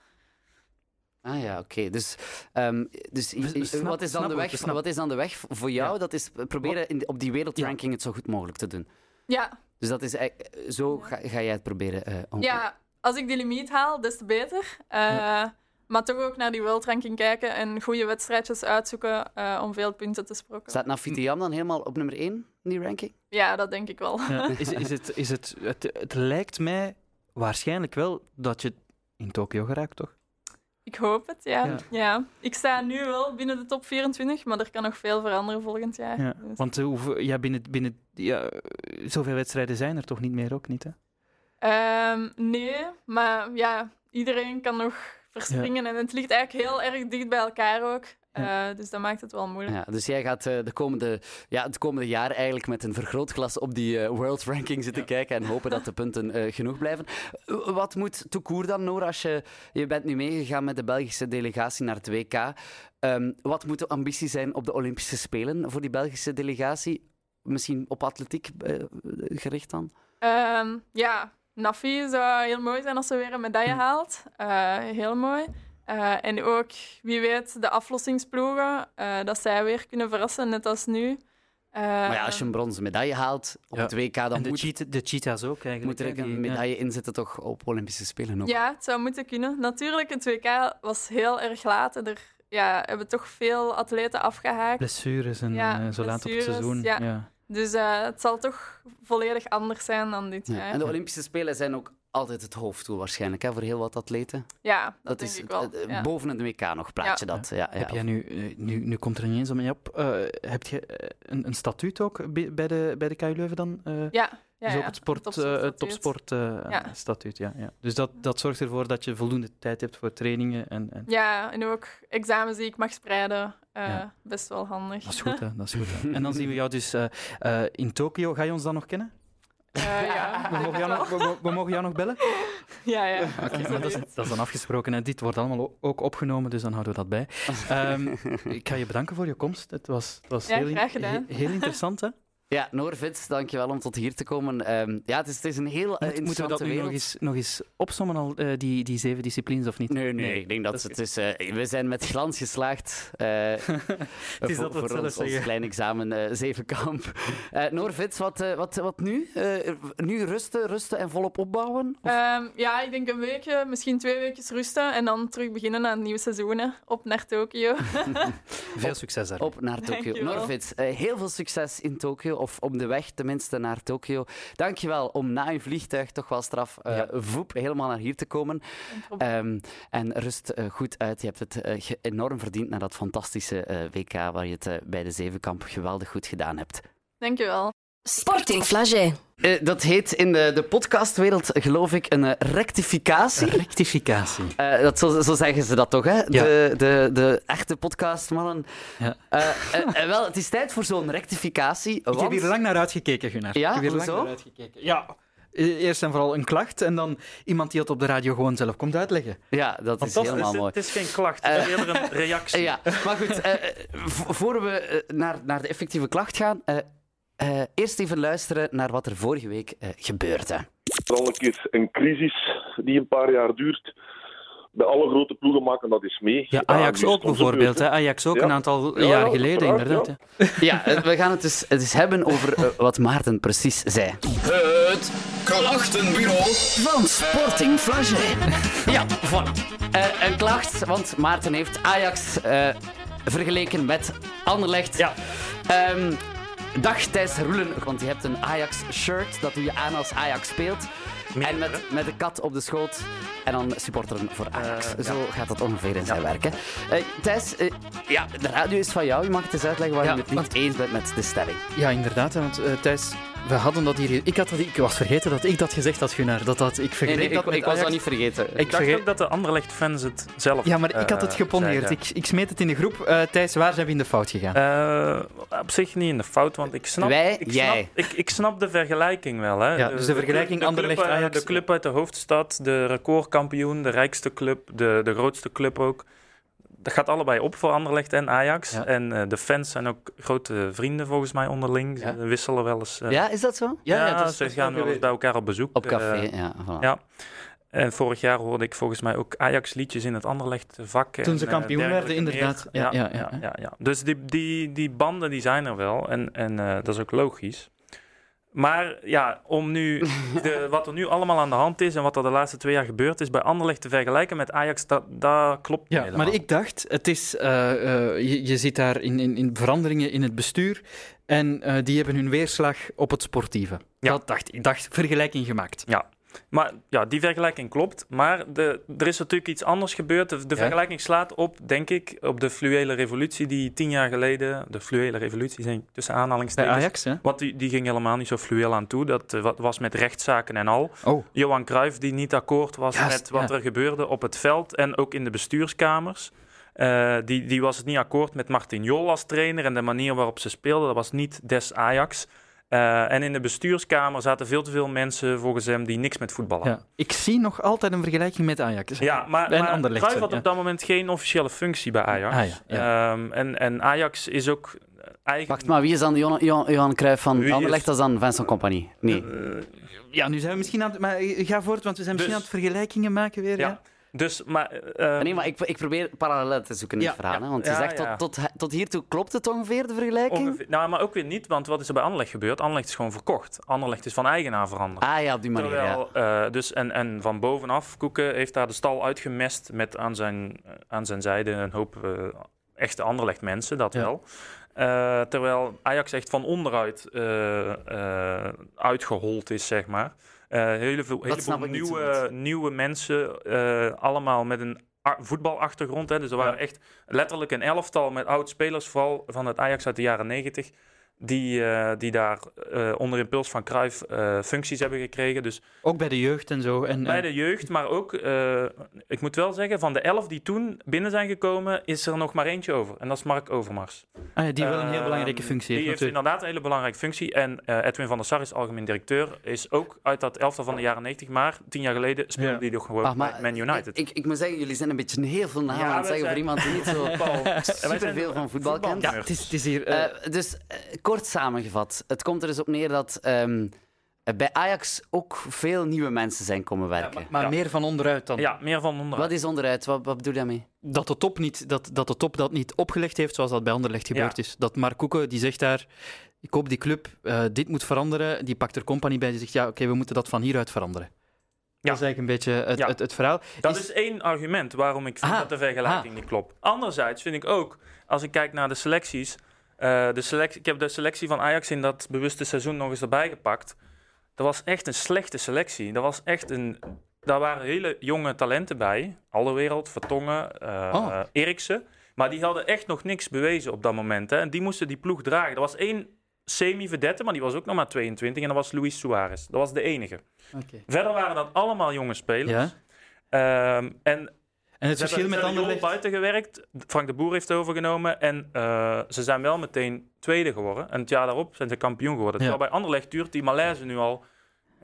Speaker 2: Ah ja, oké. Dus, ehm, dus
Speaker 1: we snappen-
Speaker 2: wat, is dan de
Speaker 1: snappen, we
Speaker 2: weg,
Speaker 1: snappen.
Speaker 2: wat is dan de weg voor jou?
Speaker 1: Ja.
Speaker 2: Dat is eh, proberen in, de- op die wereldranking het zo goed mogelijk te doen.
Speaker 7: Ja,
Speaker 2: Dus dat is, eigenlijk- zo ga, ga jij het proberen. eh, om-
Speaker 7: Ja, als ik die limiet haal, des te beter. Eh, Maar toch ook naar die wereldranking kijken en goede wedstrijdjes uitzoeken eh, om veel punten te sprokken.
Speaker 2: Staat Nafitiam dan helemaal op nummer 1 in die ranking?
Speaker 7: Ja, dat denk ik wel.
Speaker 1: Ja, Eh, Is, is het, is het, het, het lijkt mij waarschijnlijk wel dat je in Tokio geraakt, toch?
Speaker 7: Ik hoop het, ja.
Speaker 1: Ja.
Speaker 7: ja. Ik sta nu wel binnen de top 24, maar er kan nog veel veranderen volgend jaar.
Speaker 1: Ja,
Speaker 7: Dus,
Speaker 1: want eh, hoeveel- ja, binnen, binnen ja, eh, zoveel wedstrijden zijn er toch niet meer, ook niet, hè?
Speaker 7: ehm, nee, maar ja, iedereen kan nog verspringen en het ligt eigenlijk heel erg dicht bij elkaar ook.
Speaker 1: Ja.
Speaker 7: Eh, dus dat maakt het wel moeilijk.
Speaker 2: Ja, dus jij gaat eh, de komende, ja, het komende jaar eigenlijk met een vergrootglas op die eh, world ranking zitten kijken en hopen dat de punten eh, genoeg blijven. Eh, Wat moet toekoer dan, Noor, als je, je bent nu meegegaan met de Belgische delegatie naar het WK. Ehm, wat moet de ambitie zijn op de Olympische Spelen voor die Belgische delegatie? Misschien op atletiek eh, gericht dan?
Speaker 7: Ehm, ja, Nafi zou heel mooi zijn als ze weer een medaille
Speaker 2: Hm.
Speaker 7: haalt. Eh, heel mooi. Eh, en ook, wie weet, de aflossingsploegen, eh, dat zij weer kunnen verrassen, net als nu. Eh,
Speaker 2: maar ja, als je een bronzen medaille haalt op
Speaker 1: Ja.
Speaker 2: het WK, dan
Speaker 1: en de,
Speaker 2: moet,
Speaker 1: cheat, de cheetahs ook, eigenlijk.
Speaker 2: moet er
Speaker 1: hè,
Speaker 2: ook
Speaker 1: die-
Speaker 2: een medaille in zitten toch op Olympische Spelen ook.
Speaker 7: Ja, het zou moeten kunnen. Natuurlijk, het WK was heel erg laat en er ja, hebben toch veel atleten afgehaakt.
Speaker 1: Blessures en
Speaker 7: Ja,
Speaker 1: eh, zo laat op het
Speaker 7: blessures,
Speaker 1: seizoen.
Speaker 7: ja.
Speaker 1: Ja.
Speaker 7: Dus eh, het zal toch volledig anders zijn dan dit
Speaker 2: Ja.
Speaker 7: jaar.
Speaker 2: En de Olympische Spelen zijn ook altijd het hoofddoel waarschijnlijk hè, voor heel wat atleten.
Speaker 7: Ja, dat,
Speaker 2: Dat
Speaker 7: denk
Speaker 2: is
Speaker 7: ik wel.
Speaker 2: eh,
Speaker 7: ja.
Speaker 2: boven het WK nog praat je dat. Ja, ja.
Speaker 1: Heb jij nu, eh, nu, nu komt er niet eens om je op, eh, heb je eh, een, een statuut ook bij bij de, bij de KU Leuven dan? Eh,
Speaker 7: ja, ja,
Speaker 1: dus ook
Speaker 7: ja.
Speaker 1: het sport,
Speaker 7: Topsportstatuut.
Speaker 1: eh, topsport eh,
Speaker 7: Ja.
Speaker 1: statuut, ja, ja. Dus dat, dat zorgt ervoor dat je voldoende tijd hebt voor trainingen. En, en...
Speaker 7: Ja, en ook examens die ik mag spreiden. eh,
Speaker 1: Ja.
Speaker 7: Best wel handig.
Speaker 1: Dat is goed, hè? Dat is goed, hè. En dan zien we jou dus eh, eh, in Tokio. Ga je ons dan nog kennen?
Speaker 7: Eh, ja,
Speaker 1: We mogen jou nog, we, we- we mogen jou nog bellen?
Speaker 7: ja, ja.
Speaker 1: Eh, maar dat, is, dat is dan afgesproken. En dit wordt allemaal o- ook opgenomen, dus dan houden we dat bij. Ehm, ik ga je bedanken voor je komst. Het was, het was
Speaker 7: Ja,
Speaker 1: heel, in-
Speaker 7: graag gedaan.
Speaker 1: he- heel interessant, hè?
Speaker 2: Ja, Noorvits, dankjewel om tot hier te komen. Ehm, ja, het is, het is een heel eh,
Speaker 1: Moet- moeten we
Speaker 2: interessante
Speaker 1: dat nu
Speaker 2: wereld.
Speaker 1: nog eens, nog eens opsommen, al, eh, die, die zeven disciplines, of niet?
Speaker 2: Nee, nee, ik denk dat,
Speaker 1: dat
Speaker 2: het is... eh, we zijn met glans geslaagd. eh,
Speaker 1: Het is
Speaker 2: voor,
Speaker 1: dat we het
Speaker 2: voor
Speaker 1: zelf
Speaker 2: ons, ons
Speaker 1: zeggen.
Speaker 2: klein examen eh, Zevenkamp. Eh Noorvits, wat, eh, wat, wat nu? Eh, nu rusten, rusten en volop opbouwen?
Speaker 7: Ehm, ja, ik denk een weekje, misschien twee weekjes rusten en dan terug beginnen aan het nieuwe seizoen. hè. Op naar Tokio.
Speaker 1: Veel succes daar.
Speaker 2: Op naar Tokio.
Speaker 7: Dankjewel.
Speaker 2: Norvits, eh, heel veel succes in Tokio. Of op de weg tenminste naar Tokio. Dankjewel om na je vliegtuig toch wel straf eh, voep helemaal naar hier te komen. Ehm, en rust eh, goed uit. Je hebt het eh, ge- enorm verdiend na dat fantastische eh, WK waar je het eh, bij de Zevenkamp geweldig goed gedaan hebt.
Speaker 7: Dankjewel.
Speaker 6: Sporting Flagey.
Speaker 2: Eh, dat heet in de, de podcastwereld, geloof ik, een eh, rectificatie.
Speaker 1: Rectificatie.
Speaker 2: Eh, dat, zo, zo zeggen ze dat toch, hè?
Speaker 1: Ja.
Speaker 2: De, de, de echte podcastmannen.
Speaker 1: Ja.
Speaker 2: Eh, eh, eh, wel, het is tijd voor zo'n rectificatie.
Speaker 1: Ik heb
Speaker 2: want-
Speaker 1: hier lang naar uitgekeken, Gunnar.
Speaker 2: Ja,
Speaker 1: ik heb hier
Speaker 2: hoezo?
Speaker 1: lang naar uitgekeken. Ja. E- Eerst en vooral een klacht en dan iemand die het op de radio gewoon zelf komt uitleggen.
Speaker 2: Ja, dat is
Speaker 8: Fantastisch.
Speaker 2: helemaal
Speaker 8: het,
Speaker 2: mooi.
Speaker 8: is geen klacht, het is eerder een reactie.
Speaker 2: Eh, ja, maar goed, eh, eh, vo- voor we eh, naar, naar de effectieve klacht gaan, eh, eh, eerst even luisteren naar wat er vorige week eh, gebeurde.
Speaker 9: vooral een keer een crisis die een paar jaar duurt. Bij alle grote ploegen maken dat eens mee.
Speaker 1: Ja, Ajax
Speaker 9: nu is
Speaker 1: ook
Speaker 9: het onze
Speaker 1: bijvoorbeeld.
Speaker 9: beurt,
Speaker 1: Hè. Ajax ook
Speaker 9: Ja.
Speaker 1: een aantal
Speaker 9: Ja,
Speaker 1: jaar
Speaker 9: ja,
Speaker 1: geleden,
Speaker 9: uiteraard,
Speaker 1: inderdaad.
Speaker 9: ja.
Speaker 1: hè.
Speaker 2: Ja, eh, we gaan het dus, het dus hebben over eh, wat Maarten precies zei.
Speaker 3: Het klachtenbureau.
Speaker 2: Van Sporting Flagey. Ja, voilà. Eh, een klacht, want Maarten heeft Ajax eh, vergeleken met Anderlecht.
Speaker 8: Ja.
Speaker 2: Ehm, dag Thijs Roelen, want je hebt een Ajax-shirt. Dat doe je aan als Ajax speelt. en met, met de kat op de schoot. En dan supporteren voor Ajax.
Speaker 8: Eh,
Speaker 2: Zo gaat dat ongeveer in zijn werk. Hè. Eh, Thijs, eh, ja, de radio is van jou. Je mag het eens uitleggen waar
Speaker 1: Ja,
Speaker 2: je het niet
Speaker 1: want-
Speaker 2: eens bent met de stelling.
Speaker 1: Ja, inderdaad. hè, Want eh, Thijs, we hadden dat hier... Ik, had dat, ik was vergeten dat ik dat gezegd had, Gunnar. Dat, dat, ik vergeet
Speaker 2: ik,
Speaker 1: dat met
Speaker 2: was dat
Speaker 1: Ajax.
Speaker 2: niet vergeten.
Speaker 1: Ik
Speaker 8: Ik dacht
Speaker 1: vergeet-
Speaker 8: ook dat de Anderlecht-fans het zelf
Speaker 1: Ja, maar ik had het
Speaker 8: eh,
Speaker 1: geponeerd.
Speaker 8: zeiden.
Speaker 1: Ik, ik smeet het in de groep. Eh, Thijs, waar zijn we in de fout gegaan?
Speaker 8: Eh, op zich niet in de fout, want ik snap...
Speaker 2: Wij,
Speaker 8: ik
Speaker 2: jij.
Speaker 8: Snap, ik, ik snap de vergelijking wel. Hè.
Speaker 1: Ja, dus de vergelijking
Speaker 8: de club- de club, eh,
Speaker 1: Anderlecht-Ajax.
Speaker 8: De club uit de hoofdstad, de recordkampioen, de rijkste club, de, de grootste club ook. Dat gaat allebei op voor Anderlecht en Ajax.
Speaker 1: Ja.
Speaker 8: En eh, de fans zijn ook grote vrienden volgens mij onderling. Ze
Speaker 1: Ja.
Speaker 8: wisselen wel eens... eh,
Speaker 2: Ja, is dat zo?
Speaker 8: ja,
Speaker 1: dat is-
Speaker 8: ze
Speaker 1: dat is
Speaker 8: gaan
Speaker 1: wel
Speaker 8: wel eens bij elkaar op bezoek.
Speaker 2: Op café,
Speaker 8: Eh,
Speaker 2: ja. voilà.
Speaker 8: ja. en vorig jaar hoorde ik volgens mij ook Ajax-liedjes in het Anderlecht vak.
Speaker 1: Toen ze
Speaker 8: en, eh,
Speaker 1: kampioen werden,
Speaker 8: dergelijke
Speaker 1: inderdaad.
Speaker 8: meer.
Speaker 1: Ja,
Speaker 8: Ja,
Speaker 1: ja,
Speaker 8: ja,
Speaker 1: ja,
Speaker 8: ja,
Speaker 1: ja.
Speaker 8: ja, Dus die, die, die banden die zijn er wel en, en eh, dat is ook logisch. Maar ja, om nu de, wat er nu allemaal aan de hand is en wat er de laatste twee jaar gebeurd is bij Anderlecht te vergelijken met Ajax, dat, dat klopt niet
Speaker 1: Ja,
Speaker 8: helemaal.
Speaker 1: maar ik dacht, het is, eh, eh, je, je ziet daar in, in, in veranderingen in het bestuur en eh, die hebben hun weerslag op het sportieve.
Speaker 8: Ja.
Speaker 1: Dat dacht ik. dacht, vergelijking gemaakt.
Speaker 8: Maar ja, die vergelijking klopt. Maar de, er is natuurlijk iets anders gebeurd. De, de
Speaker 1: Ja.
Speaker 8: vergelijking slaat op, denk ik, op de fluwele revolutie die tien jaar geleden... De fluwele revolutie, zeg ik tussen
Speaker 1: Bij
Speaker 8: aanhalingstekens.
Speaker 1: Ajax, hè?
Speaker 8: Want die, die ging helemaal niet zo fluweel aan toe. Dat eh, wat was met rechtszaken en al.
Speaker 1: Oh.
Speaker 8: Johan Cruijff die niet akkoord was
Speaker 1: Juist,
Speaker 8: met wat
Speaker 1: ja.
Speaker 8: er gebeurde op het veld en ook in de bestuurskamers. Eh, die, die was het niet akkoord met Martin Jol als trainer en de manier waarop ze speelden. Dat was niet des Ajax. Eh, en in de bestuurskamer zaten veel te veel mensen volgens hem die niks met voetbal hadden.
Speaker 1: Ja. Ik zie nog altijd een vergelijking met Ajax.
Speaker 8: Ja, maar,
Speaker 1: En
Speaker 8: maar
Speaker 1: Anderlecht,
Speaker 8: Cruijff had
Speaker 1: ja.
Speaker 8: op dat moment geen officiële functie bij Ajax.
Speaker 1: Ah, ja,
Speaker 8: Ehm, en, en Ajax is ook eh, eigenlijk...
Speaker 2: Wacht, maar wie is dan Johan, Johan, Johan Cruijff van
Speaker 8: Wie is-
Speaker 2: Anderlecht? Dat is dan Vincent Compagnie. Nee.
Speaker 1: Ja, nu zijn we misschien aan het... Maar eh, ga voort, want we zijn misschien
Speaker 8: Dus-
Speaker 1: aan het vergelijkingen maken weer.
Speaker 8: Ja.
Speaker 1: Ja.
Speaker 8: Dus, maar, eh,
Speaker 2: Nee, maar ik, ik probeer parallellen te zoeken in
Speaker 1: Ja,
Speaker 2: het verhaal. hè, Want
Speaker 8: ja,
Speaker 2: je zegt,
Speaker 8: ja.
Speaker 2: tot, tot, tot hiertoe klopt het ongeveer, de vergelijking?
Speaker 8: ongeveer- nou, maar ook weer niet, want wat is er bij Anderlecht gebeurd? Anderlecht is gewoon verkocht. Anderlecht is van eigenaar veranderd.
Speaker 2: Ah ja, op die manier, ja.
Speaker 8: Terwijl, eh, dus en, en van bovenaf, Koeken heeft daar de stal uitgemest met aan zijn, eh, aan zijn zijde een hoop eh, echte Anderlecht mensen, dat
Speaker 1: Ja.
Speaker 8: wel. Eh, terwijl Ajax echt van onderuit eh, eh, uitgehold is, zeg maar. Eh hele veel, hele
Speaker 2: snap ik niet zo
Speaker 8: nieuwe,
Speaker 2: goed.
Speaker 8: nieuwe mensen, eh, allemaal met een a- voetbalachtergrond. Hè. Dus er waren echt letterlijk een elftal met oud-spelers, vooral van het Ajax uit de jaren negentig, die, eh, die daar eh, onder impuls van Cruijff eh, functies hebben gekregen. Dus
Speaker 1: Ook bij de jeugd en zo. En,
Speaker 8: bij
Speaker 1: en-
Speaker 8: de jeugd, maar ook, eh, ik moet wel zeggen, van de elf die toen binnen zijn gekomen, is er nog maar eentje over. En dat is Mark Overmars.
Speaker 1: ah ja, die wel een heel
Speaker 8: Ehm,
Speaker 1: belangrijke functie
Speaker 8: Die
Speaker 1: heeft
Speaker 8: heeft
Speaker 1: natuurlijk.
Speaker 8: inderdaad een hele belangrijke functie. En eh, Edwin van der Sar is algemeen directeur, is ook uit dat elftal van de jaren 90, maar tien jaar geleden speelde
Speaker 1: Ja.
Speaker 8: die nog gewoon
Speaker 2: Ah,
Speaker 8: bij Man United.
Speaker 2: Ik, ik, ik moet zeggen, jullie zijn een beetje heel veel namen
Speaker 8: Ja,
Speaker 2: aan het
Speaker 8: we
Speaker 2: zeggen voor
Speaker 8: zijn-
Speaker 2: iemand die niet zo superveel van voetbal kent.
Speaker 1: Ja, het is, het is hier... eh,
Speaker 2: Eh, dus eh, kort samengevat, het komt er dus op neer dat ehm, eh, bij Ajax ook veel nieuwe mensen zijn komen werken.
Speaker 1: maar
Speaker 8: ja.
Speaker 1: meer van onderuit dan.
Speaker 8: Ja, meer van onderuit.
Speaker 2: Wat is onderuit? Wat, wat bedoel je daarmee?
Speaker 1: dat de top niet, dat, dat de top dat niet opgelegd heeft zoals dat bij Anderlecht gebeurd
Speaker 8: Ja.
Speaker 1: is. Dat Mark Koeken, die zegt daar, ik koop die club, eh, dit moet veranderen. Die pakt er compagnie bij, die zegt, ja, oké, we moeten dat van hieruit veranderen.
Speaker 8: Ja.
Speaker 1: Dat is eigenlijk een beetje het,
Speaker 8: Ja.
Speaker 1: het, het verhaal.
Speaker 8: Dat
Speaker 1: Is-
Speaker 8: is één argument waarom ik vind
Speaker 1: Ah,
Speaker 8: dat de vergelijking niet klopt. Anderzijds vind ik ook, als ik kijk naar de selecties. eh, de selectie, ik heb de selectie van Ajax in dat bewuste seizoen nog eens erbij gepakt. Dat was echt een slechte selectie. Dat was echt een, daar waren hele jonge talenten bij. Allerwereld, Vertongen, eh
Speaker 1: Oh.
Speaker 8: eh, Eriksen. Maar die hadden echt nog niks bewezen op dat moment. Hè. En die moesten die ploeg dragen. Er was één semi-vedette, maar die was ook nog maar 22. En dat was Luis Suarez. Dat was de enige.
Speaker 1: Oké.
Speaker 8: Verder waren dat allemaal jonge spelers.
Speaker 1: Ja.
Speaker 8: Ehm, en
Speaker 1: En het verschil
Speaker 8: ze
Speaker 1: met
Speaker 8: hebben, ze hebben jong
Speaker 1: Anderlecht...
Speaker 8: buiten gewerkt. Frank de Boer heeft overgenomen. En eh, ze zijn wel meteen tweede geworden. En het jaar daarop zijn ze kampioen geworden.
Speaker 1: Ja.
Speaker 8: Terwijl bij Anderlecht duurt die malaise nu al.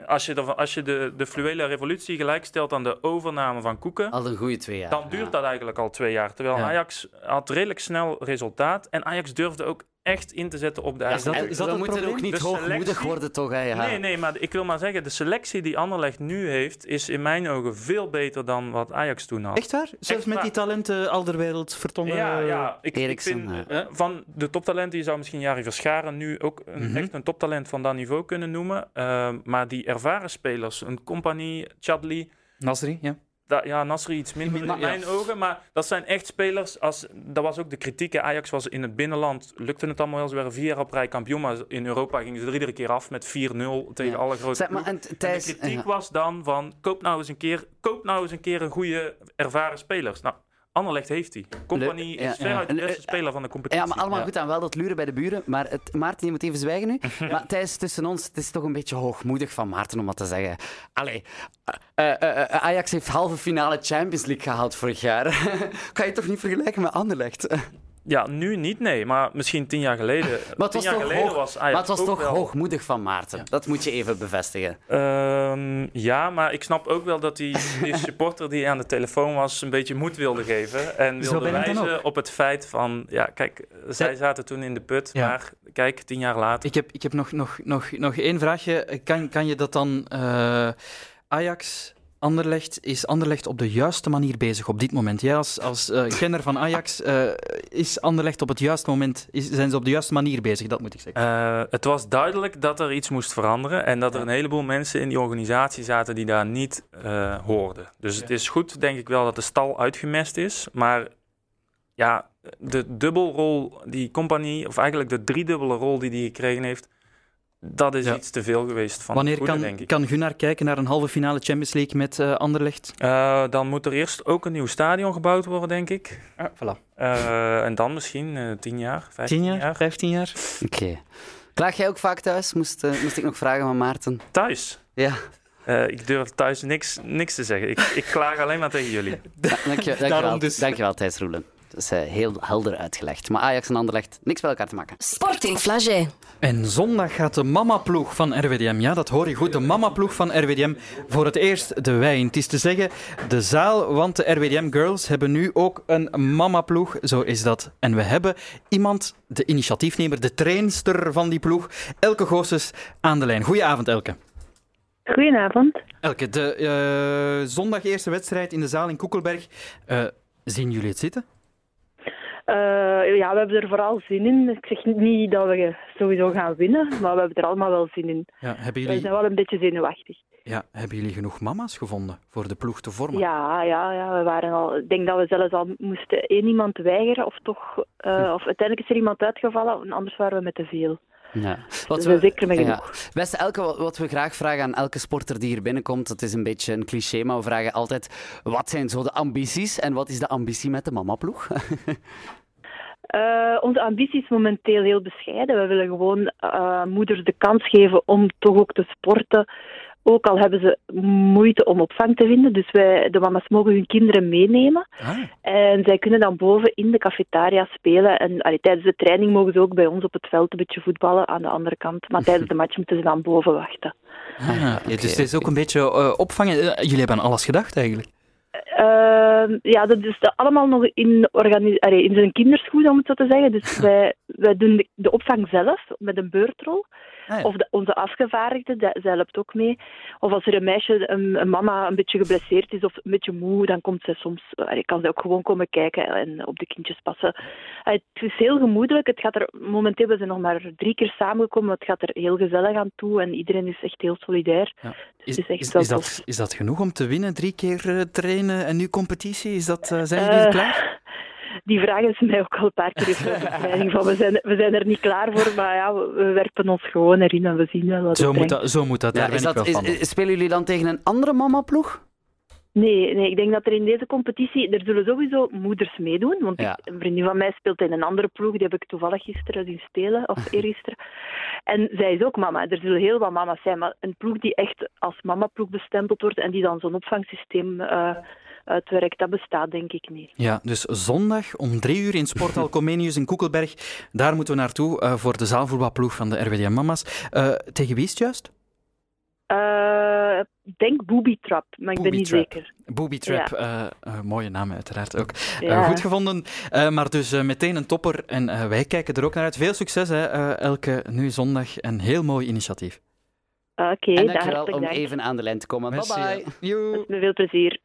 Speaker 8: Als je, de, als je de, de fluwele revolutie gelijkstelt aan de overname van Koeken.
Speaker 2: Al een goede twee jaar.
Speaker 8: Dan duurt
Speaker 2: Ja.
Speaker 8: dat eigenlijk al twee jaar. Terwijl
Speaker 1: Oh, Ja.
Speaker 8: Ajax had redelijk snel resultaat. En Ajax durfde ook echt in te zetten op de eigen
Speaker 1: dat-
Speaker 2: En
Speaker 1: is dat
Speaker 2: we
Speaker 1: het
Speaker 2: moeten
Speaker 1: probleem?
Speaker 2: ook niet
Speaker 8: De
Speaker 2: hoogmoedig
Speaker 8: selectie?
Speaker 2: worden, toch? Hè? Ja.
Speaker 8: Nee, nee, maar ik wil maar zeggen, de selectie die Anderlecht nu heeft, is in mijn ogen veel beter dan wat Ajax toen had.
Speaker 1: Echt waar? Zelfs met
Speaker 8: waar.
Speaker 1: die talenten Alderwereld, Vertongen...
Speaker 8: Ja, ja. Ik, ik
Speaker 2: eh, Eriksen,
Speaker 8: vind eh, van de toptalenten, je zou misschien Jari Verscharen nu ook een,
Speaker 2: Mhm.
Speaker 8: echt een toptalent van dat niveau kunnen noemen. Ehm, maar die ervaren spelers, een compagnie, Chadli,
Speaker 1: Nasri, ja.
Speaker 8: da, ja, Nasri iets minder in
Speaker 1: Minder, ja.
Speaker 8: mijn ogen. Maar dat zijn echt spelers, als, dat was ook de kritiek. hè. Ajax was in het binnenland, lukte het allemaal wel. Ze waren vier jaar op rij kampioen, maar in Europa gingen ze er iedere keer af met 4-0 tegen
Speaker 2: Ja.
Speaker 8: alle grote
Speaker 2: Zeg maar,
Speaker 8: ploegen.
Speaker 2: en t-
Speaker 8: En
Speaker 2: Thijs...
Speaker 8: de kritiek
Speaker 2: ja.
Speaker 8: was dan van, koop nou eens een keer, koop nou eens een, keer een goede ervaren spelers. Nou, Anderlecht heeft die. Company
Speaker 2: Le- ja,
Speaker 8: is
Speaker 2: ja.
Speaker 8: veruit de beste
Speaker 2: Le-
Speaker 8: speler van de competitie.
Speaker 2: Ja, maar allemaal
Speaker 1: Ja.
Speaker 2: goed aan wel dat luren bij de buren. Maar het, Maarten, je moet even zwijgen nu. Maar Thijs, tussen ons, het is toch een beetje hoogmoedig van Maarten om dat te zeggen. Allee, eh, eh, eh, Ajax heeft halve finale Champions League gehaald vorig jaar. kan je toch niet vergelijken met Anderlecht?
Speaker 8: Ja, nu niet, nee. Maar misschien tien jaar geleden.
Speaker 2: Maar het
Speaker 8: tien
Speaker 2: was
Speaker 8: jaar
Speaker 2: toch,
Speaker 8: geleden
Speaker 2: hoog-
Speaker 8: was
Speaker 1: Ah
Speaker 2: maar
Speaker 8: Ajax
Speaker 2: het was
Speaker 8: ook
Speaker 2: toch
Speaker 8: wel-
Speaker 2: hoogmoedig van Maarten. Dat moet je even bevestigen.
Speaker 8: Ehm, ja, maar ik snap ook wel dat die, die supporter die aan de telefoon was... een beetje moed wilde geven. En
Speaker 1: Zo
Speaker 8: wilde
Speaker 1: ben ik dan
Speaker 8: wijzen op het feit van... Ja, kijk, eh, zij zaten toen in de put.
Speaker 1: Ja.
Speaker 8: Maar kijk, tien jaar later...
Speaker 1: Ik heb, ik heb nog, nog, nog, nog één vraagje. Eh, Kan, kan je dat dan... eh, Ajax, Anderlecht, is Anderlecht op de juiste manier bezig op dit moment? Jij als, als eh, kenner van Ajax, eh, is Anderlecht op het juiste moment... Is, zijn ze op de juiste manier bezig, dat moet ik zeggen.
Speaker 8: Eh, het was duidelijk dat er iets moest veranderen en dat er een heleboel mensen in die organisatie zaten die daar niet eh, hoorden. Dus het is goed, denk ik wel, dat de stal uitgemest is. Maar ja, de dubbelrol die compagnie, of eigenlijk de driedubbele rol die die gekregen heeft, dat is
Speaker 1: Ja.
Speaker 8: iets te veel geweest van
Speaker 1: Wanneer
Speaker 8: het goede, denk
Speaker 1: kan,
Speaker 8: ik.
Speaker 1: kan Gunnar kijken naar een halve finale Champions League met eh, Anderlecht?
Speaker 8: Eh, dan moet er eerst ook een nieuw stadion gebouwd worden, denk ik.
Speaker 1: voilà.
Speaker 8: Eh, en dan misschien eh, tien jaar, vijftien
Speaker 1: 10 jaar, 15 jaar?
Speaker 2: Oké. Klaag jij ook vaak thuis? Moest, eh, moest ik nog vragen van Maarten?
Speaker 8: Thuis.
Speaker 2: Ja,
Speaker 8: Eh, ik durf thuis niks, niks te zeggen. Ik, ik klaag alleen maar tegen jullie.
Speaker 2: dank je, dank je wel,
Speaker 1: Daarom dus.
Speaker 2: Dank je wel, Thijs Roelen. Dat is eh, heel helder uitgelegd. Maar Ajax en Anderlecht, niks bij elkaar te maken.
Speaker 6: Sporting Flagey.
Speaker 1: En zondag gaat de mamaploeg van RWDM, ja dat hoor je goed, de mamaploeg van RWDM voor het eerst de wijn. Het is te zeggen de zaal, want de RWDM Girls hebben nu ook een mamaploeg, zo is dat. En we hebben iemand, de initiatiefnemer, de trainster van die ploeg, Elke Goossens aan de lijn. Goedenavond Elke.
Speaker 10: Goedenavond.
Speaker 1: Elke, de eh, zondag eerste wedstrijd in de zaal in Koekelberg. Eh, zien jullie het zitten?
Speaker 10: Eh, ja, we hebben er vooral zin in. Ik zeg niet dat we sowieso gaan winnen, maar we hebben er allemaal wel zin in.
Speaker 1: Ja, hebben,
Speaker 10: We
Speaker 1: jullie,
Speaker 10: zijn wel een beetje zenuwachtig.
Speaker 1: ja, hebben jullie genoeg mama's gevonden voor de ploeg te vormen?
Speaker 10: Ja, ja, ja, we waren al. Ik denk dat we zelfs al moesten één iemand weigeren, of toch. eh, of uiteindelijk is er iemand uitgevallen, en anders waren we met te veel.
Speaker 2: Ja.
Speaker 10: Dus dat is zeker met
Speaker 2: Beste Elke, wat- wat we graag vragen aan elke sporter die hier binnenkomt, dat is een beetje een cliché, maar we vragen altijd wat zijn zo de ambities en wat is de ambitie met de mamaploeg?
Speaker 10: Eh, onze ambitie is momenteel heel bescheiden. We willen gewoon eh, moeders de kans geven om toch ook te sporten. Ook al hebben ze moeite om opvang te vinden. Dus wij, de mama's mogen hun kinderen meenemen. En zij kunnen dan boven in de cafetaria spelen. En allee, tijdens de training mogen ze ook bij ons op het veld een beetje voetballen aan de andere kant. Maar tijdens de match moeten ze dan boven wachten.
Speaker 1: Ah, ja, dus het is ook een beetje eh, opvangen. Eh, jullie hebben aan alles gedacht eigenlijk.
Speaker 10: Ehm, ja, dat is de- allemaal nog in, organi- allee, in zijn kinderschoen, om het zo te zeggen. Dus wij, wij doen de, de opvang zelf met een beurtrol. Of de- onze afgevaardigde, de- zij helpt ook mee. Of als er een meisje, een, een mama, een beetje geblesseerd is of een beetje moe, dan komt zij soms, allee, kan zij ook gewoon komen kijken en op de kindjes passen. Allee, het is heel gemoedelijk. Het gaat er, momenteel we zijn nog maar drie keer samengekomen, maar het gaat er heel gezellig aan toe en iedereen is echt heel solidair. Dus
Speaker 1: Ja.
Speaker 10: Het
Speaker 1: Is,
Speaker 10: is echt
Speaker 1: is,
Speaker 10: wel
Speaker 1: is
Speaker 10: tof.
Speaker 1: dat, is dat genoeg om te winnen? Drie keer eh, trainen en nu competitie? Is dat, eh, zijn jullie er
Speaker 10: Eh,
Speaker 1: klaar?
Speaker 10: Die vragen is mij ook al een paar keer gesteld in de training, van we zijn, we zijn er niet klaar voor, maar ja, we, we werpen ons gewoon erin en we zien wel wat
Speaker 1: Zo
Speaker 10: het
Speaker 1: moet
Speaker 10: brengt.
Speaker 1: dat, zo moet dat daar ben
Speaker 2: is
Speaker 1: ik
Speaker 2: dat,
Speaker 1: wel van.
Speaker 2: is- is- spelen jullie dan tegen een andere mamaploeg?
Speaker 10: Nee, nee, ik denk dat er in deze competitie, er zullen sowieso moeders meedoen, want
Speaker 2: Ja.
Speaker 10: ik- een vriendin van mij speelt in een andere ploeg, die heb ik toevallig gisteren zien spelen, of eergisteren. En zij is ook mama, er zullen heel wat mama's zijn, maar een ploeg die echt als mamaploeg bestempeld wordt en die dan zo'n opvangsysteem eh, uitwerkt, dat bestaat denk ik niet.
Speaker 1: Ja, dus zondag om drie uur in Sporthal Comenius in Koekelberg. Daar moeten we naartoe eh, voor de zaalvoetbalploeg van de RWDM Mama's. Eh, tegen wie is het juist?
Speaker 10: Eh, ik denk booby trap, maar ik ben
Speaker 1: Booby
Speaker 10: niet
Speaker 1: trap.
Speaker 10: zeker.
Speaker 1: Booby Trap, eh, eh, mooie naam uiteraard ook. Eh,
Speaker 10: Ja.
Speaker 1: goed gevonden, Eh, maar dus eh, meteen een topper. En eh, wij kijken er ook naar uit. Veel succes, hè, eh, Elke, nu zondag. Een heel mooi initiatief.
Speaker 10: Ah, Oké,
Speaker 2: en
Speaker 10: daar
Speaker 2: dankjewel
Speaker 10: hartelijk
Speaker 2: om
Speaker 10: dank.
Speaker 2: even aan de lijn te komen.
Speaker 1: Merci,
Speaker 2: bye bye.
Speaker 10: Met veel plezier.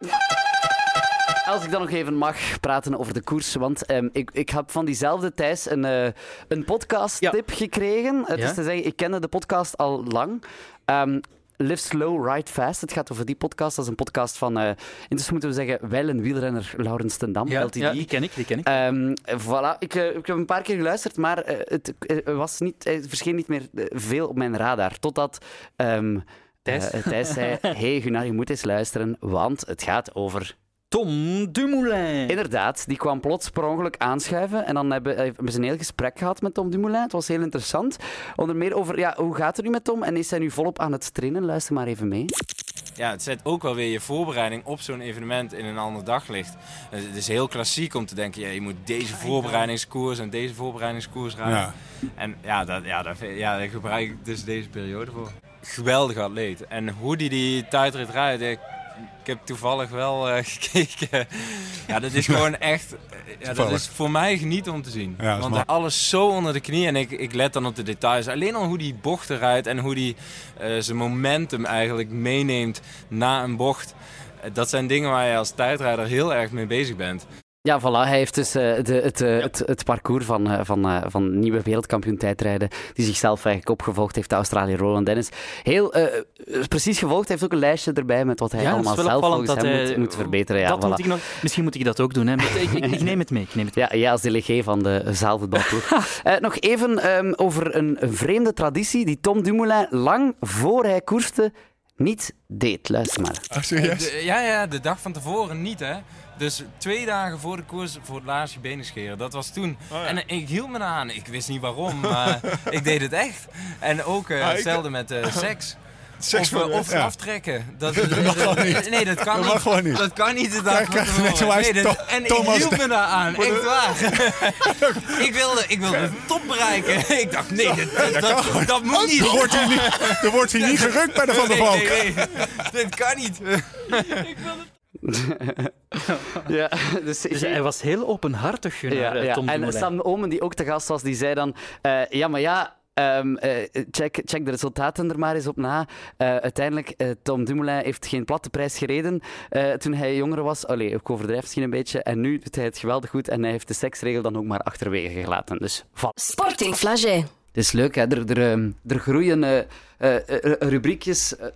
Speaker 2: Als ik dan nog even mag praten over de koers, want ehm, ik, ik heb van diezelfde Thijs een, eh, een podcast-tip gekregen. Het
Speaker 1: Ja?
Speaker 2: is te zeggen, ik kende de podcast al lang. Ehm, Live Slow, Ride Fast. Het gaat over die podcast. Dat is een podcast van, eh intussen moeten we zeggen, wel een wielrenner Laurens ten Dam,
Speaker 1: Ja,
Speaker 2: LTD.
Speaker 1: ja, die ken ik, die ken ik.
Speaker 2: Ehm, voilà, ik, eh, ik heb een paar keer geluisterd, maar eh, het eh, was niet, hij verscheen niet meer eh, veel op mijn radar. Totdat ehm,
Speaker 1: Thijs.
Speaker 2: eh, zei: hey, Gunnar, je moet eens luisteren, want het gaat over.
Speaker 1: Tom Dumoulin.
Speaker 2: Inderdaad, die kwam plots per ongeluk aanschuiven. En dan hebben, eh, hebben ze een heel gesprek gehad met Tom Dumoulin. Het was heel interessant. Onder meer over, ja, hoe gaat het nu met Tom? En is hij nu volop aan het trainen? Luister maar even mee.
Speaker 11: ja, het zet ook wel weer je voorbereiding op zo'n evenement in een ander daglicht. Eh, Het is heel klassiek om te denken, ja, je moet deze voorbereidingskoers en deze voorbereidingskoers rijden.
Speaker 12: Ja.
Speaker 11: En ja, dat, ja, dat, vind- ja, daar gebruik ik dus deze periode voor. Geweldig atleet. En hoe die die tijdrit rijdt, ik, ik heb toevallig wel eh, gekeken. Ja, dat is gewoon echt... eh, Ja, dat
Speaker 12: Toevallig.
Speaker 11: is voor mij geniet om te zien.
Speaker 12: Ja, dat is
Speaker 11: Want
Speaker 12: mooi.
Speaker 11: alles zo onder de knie. En ik, ik let dan op de details. Alleen al hoe die bochten rijdt en hoe die eh, zijn momentum eigenlijk meeneemt na een bocht. Eh, Dat zijn dingen waar je als tijdrijder heel erg mee bezig bent.
Speaker 2: Ja, voilà. Hij heeft dus eh, de, het, eh, het, het parcours van, eh, van, eh, van nieuwe wereldkampioen tijdrijden, die zichzelf eigenlijk opgevolgd heeft, de Australië Roland Dennis. Heel eh, precies gevolgd. Hij heeft ook een lijstje erbij met wat hij
Speaker 1: Ja, dat is
Speaker 2: allemaal
Speaker 1: wel
Speaker 2: zelf
Speaker 1: opvallend
Speaker 2: volgens
Speaker 1: dat
Speaker 2: hem
Speaker 1: hij...
Speaker 2: moet, moet verbeteren. Ja,
Speaker 1: dat
Speaker 2: voilà.
Speaker 1: moet ik nog, misschien moet ik dat ook doen, hè. maar ik, ik- ik neem het mee. Ik neem het
Speaker 2: Ja, ja, als delegé van de zaalvoetbalploeg. Eh, nog even ehm, over een, een vreemde traditie die Tom Dumoulin lang voor hij koerste niet deed. Luister maar.
Speaker 11: Eh, de- ja, ja, de dag van tevoren niet, hè. Dus twee dagen voor de koers voor het laatst je benen scheren. Dat was toen.
Speaker 12: Oh,
Speaker 11: En eh, ik hield me aan. Ik wist niet waarom, maar ik deed het echt. En ook eh,
Speaker 12: Ah, ik-
Speaker 11: hetzelfde met eh, seks.
Speaker 12: Seks
Speaker 11: of eh,
Speaker 12: voor de-
Speaker 11: of
Speaker 12: ja.
Speaker 11: aftrekken. Dat,
Speaker 12: Dat mag gewoon niet.
Speaker 11: Nee, dat kan
Speaker 12: Dat mag
Speaker 11: niet.
Speaker 12: gewoon niet.
Speaker 11: Dat kan niet de dag
Speaker 12: Kijk,
Speaker 11: van
Speaker 12: kijk,
Speaker 11: tevoren.
Speaker 12: net zoals
Speaker 11: Nee, dat-
Speaker 12: Tom-
Speaker 11: en ik
Speaker 12: Thomas
Speaker 11: hield me
Speaker 12: de-
Speaker 11: daaraan.
Speaker 12: voor de-
Speaker 11: Echt waar. ik, wilde, ik wilde de top bereiken. ik dacht, nee, dat, dat,
Speaker 12: kan
Speaker 11: dat-
Speaker 12: gewoon niet.
Speaker 11: dat moet niet.
Speaker 12: Er wordt hier niet, er wordt hier niet gerukt bij de Van der Valk.
Speaker 11: Nee, nee, nee. Dit kan niet.
Speaker 2: ja, dus,
Speaker 1: Dus hij was heel openhartig, Gunnar, eh, Tom
Speaker 2: En
Speaker 1: Dumoulin.
Speaker 2: Sam Omen, die ook te gast was, die zei dan... eh, ja, maar ja, Ehm, eh, check, check de resultaten er maar eens op na. Eh, uiteindelijk, eh, Tom Dumoulin heeft geen platte prijs gereden eh, toen hij jonger was. Allee, ik overdrijf misschien een beetje. En nu doet hij het geweldig goed en hij heeft de seksregel dan ook maar achterwege gelaten. Dus voilà.
Speaker 6: Sporting Flagey.
Speaker 2: Het is leuk, hè? Er, er, ehm, er groeien eh, eh, eh, rubriekjes eh,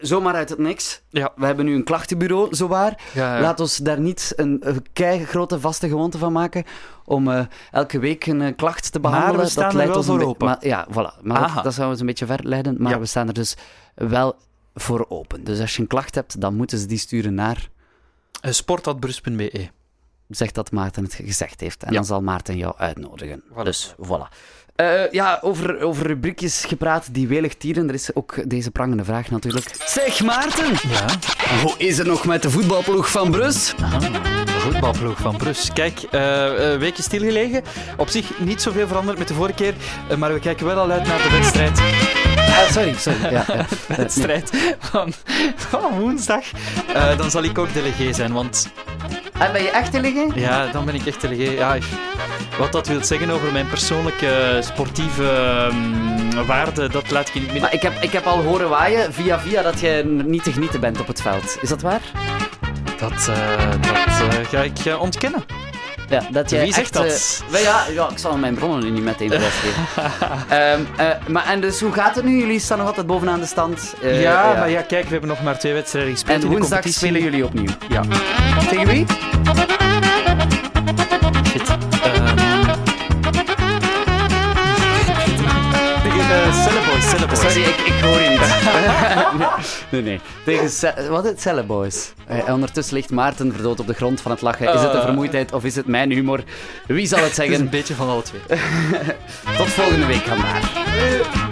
Speaker 2: zomaar uit het niks. We hebben nu een klachtenbureau, zowaar.
Speaker 1: Ja, ja.
Speaker 2: Laat ons daar niet een, eh, keigrote vaste gewoonte van maken om eh, elke week een eh, klacht te behandelen.
Speaker 1: we staan er wel
Speaker 2: ons een
Speaker 1: voor
Speaker 2: be-
Speaker 1: open.
Speaker 2: Maar, ja, voilà. Maar
Speaker 1: Aha.
Speaker 2: dat zou ons een beetje verleiden. Maar we staan er dus wel voor open. Dus als je een klacht hebt, dan moeten ze die sturen naar...
Speaker 1: eh, Sport.brus.be
Speaker 2: Zeg dat Maarten het gezegd heeft. En
Speaker 1: Ja.
Speaker 2: dan zal Maarten jou uitnodigen. Dus voilà. Eh, ja, over, over rubriekjes gepraat die welig tieren. Er is ook deze prangende vraag natuurlijk. Zeg Maarten! Ja? Hoe is het nog met de voetbalploeg van Brus?
Speaker 1: Voetbalploeg van Brus. Kijk, eh een weekje stilgelegen. Op zich niet zoveel veranderd met de vorige keer, eh, maar we kijken wel al uit naar de wedstrijd.
Speaker 2: Ah, sorry, sorry. Ja, ja.
Speaker 1: de wedstrijd van, van woensdag. Eh, dan zal ik ook delegé zijn, want
Speaker 2: En Ah, ben je echt te liggen?
Speaker 1: ja, dan ben ik echt delegé. Ja, ik- wat dat wil zeggen over mijn persoonlijke eh, sportieve eh, waarde, dat laat ik je niet meer.
Speaker 2: Maar ik heb, ik heb al horen waaien via via dat jij niet te genieten bent op het veld. Is dat waar?
Speaker 1: Dat, eh, dat eh, ga ik eh, ontkennen.
Speaker 2: Ja, dat jij
Speaker 1: Wie zegt
Speaker 2: echt,
Speaker 1: dat?
Speaker 2: eh, wel ja, ja, ik zal mijn bronnen nu niet meteen bevestigen. Ehm eh, maar en dus hoe gaat het nu? Jullie staan nog altijd bovenaan de stand. Eh,
Speaker 1: ja, maar ja, kijk, we hebben nog maar twee wedstrijden gespeeld.
Speaker 2: En
Speaker 1: in de
Speaker 2: woensdag
Speaker 1: competitie.
Speaker 2: spelen jullie opnieuw.
Speaker 1: Ja.
Speaker 2: Tegen wie?
Speaker 1: Shit. Ehm. Tegen de Celleboys, Celleboys.
Speaker 2: Sorry, ik, ik hoor je niet. nee, nee. Tegen Ce- wat is het? Celleboys. Eh, ondertussen ligt Maarten verdood op de grond van het lachen. Is het de
Speaker 1: Eh.
Speaker 2: vermoeidheid of is het mijn humor? Wie zal het
Speaker 1: Het is
Speaker 2: zeggen?
Speaker 1: een beetje van alle twee.
Speaker 2: Tot volgende week, vandaag.
Speaker 1: Eh.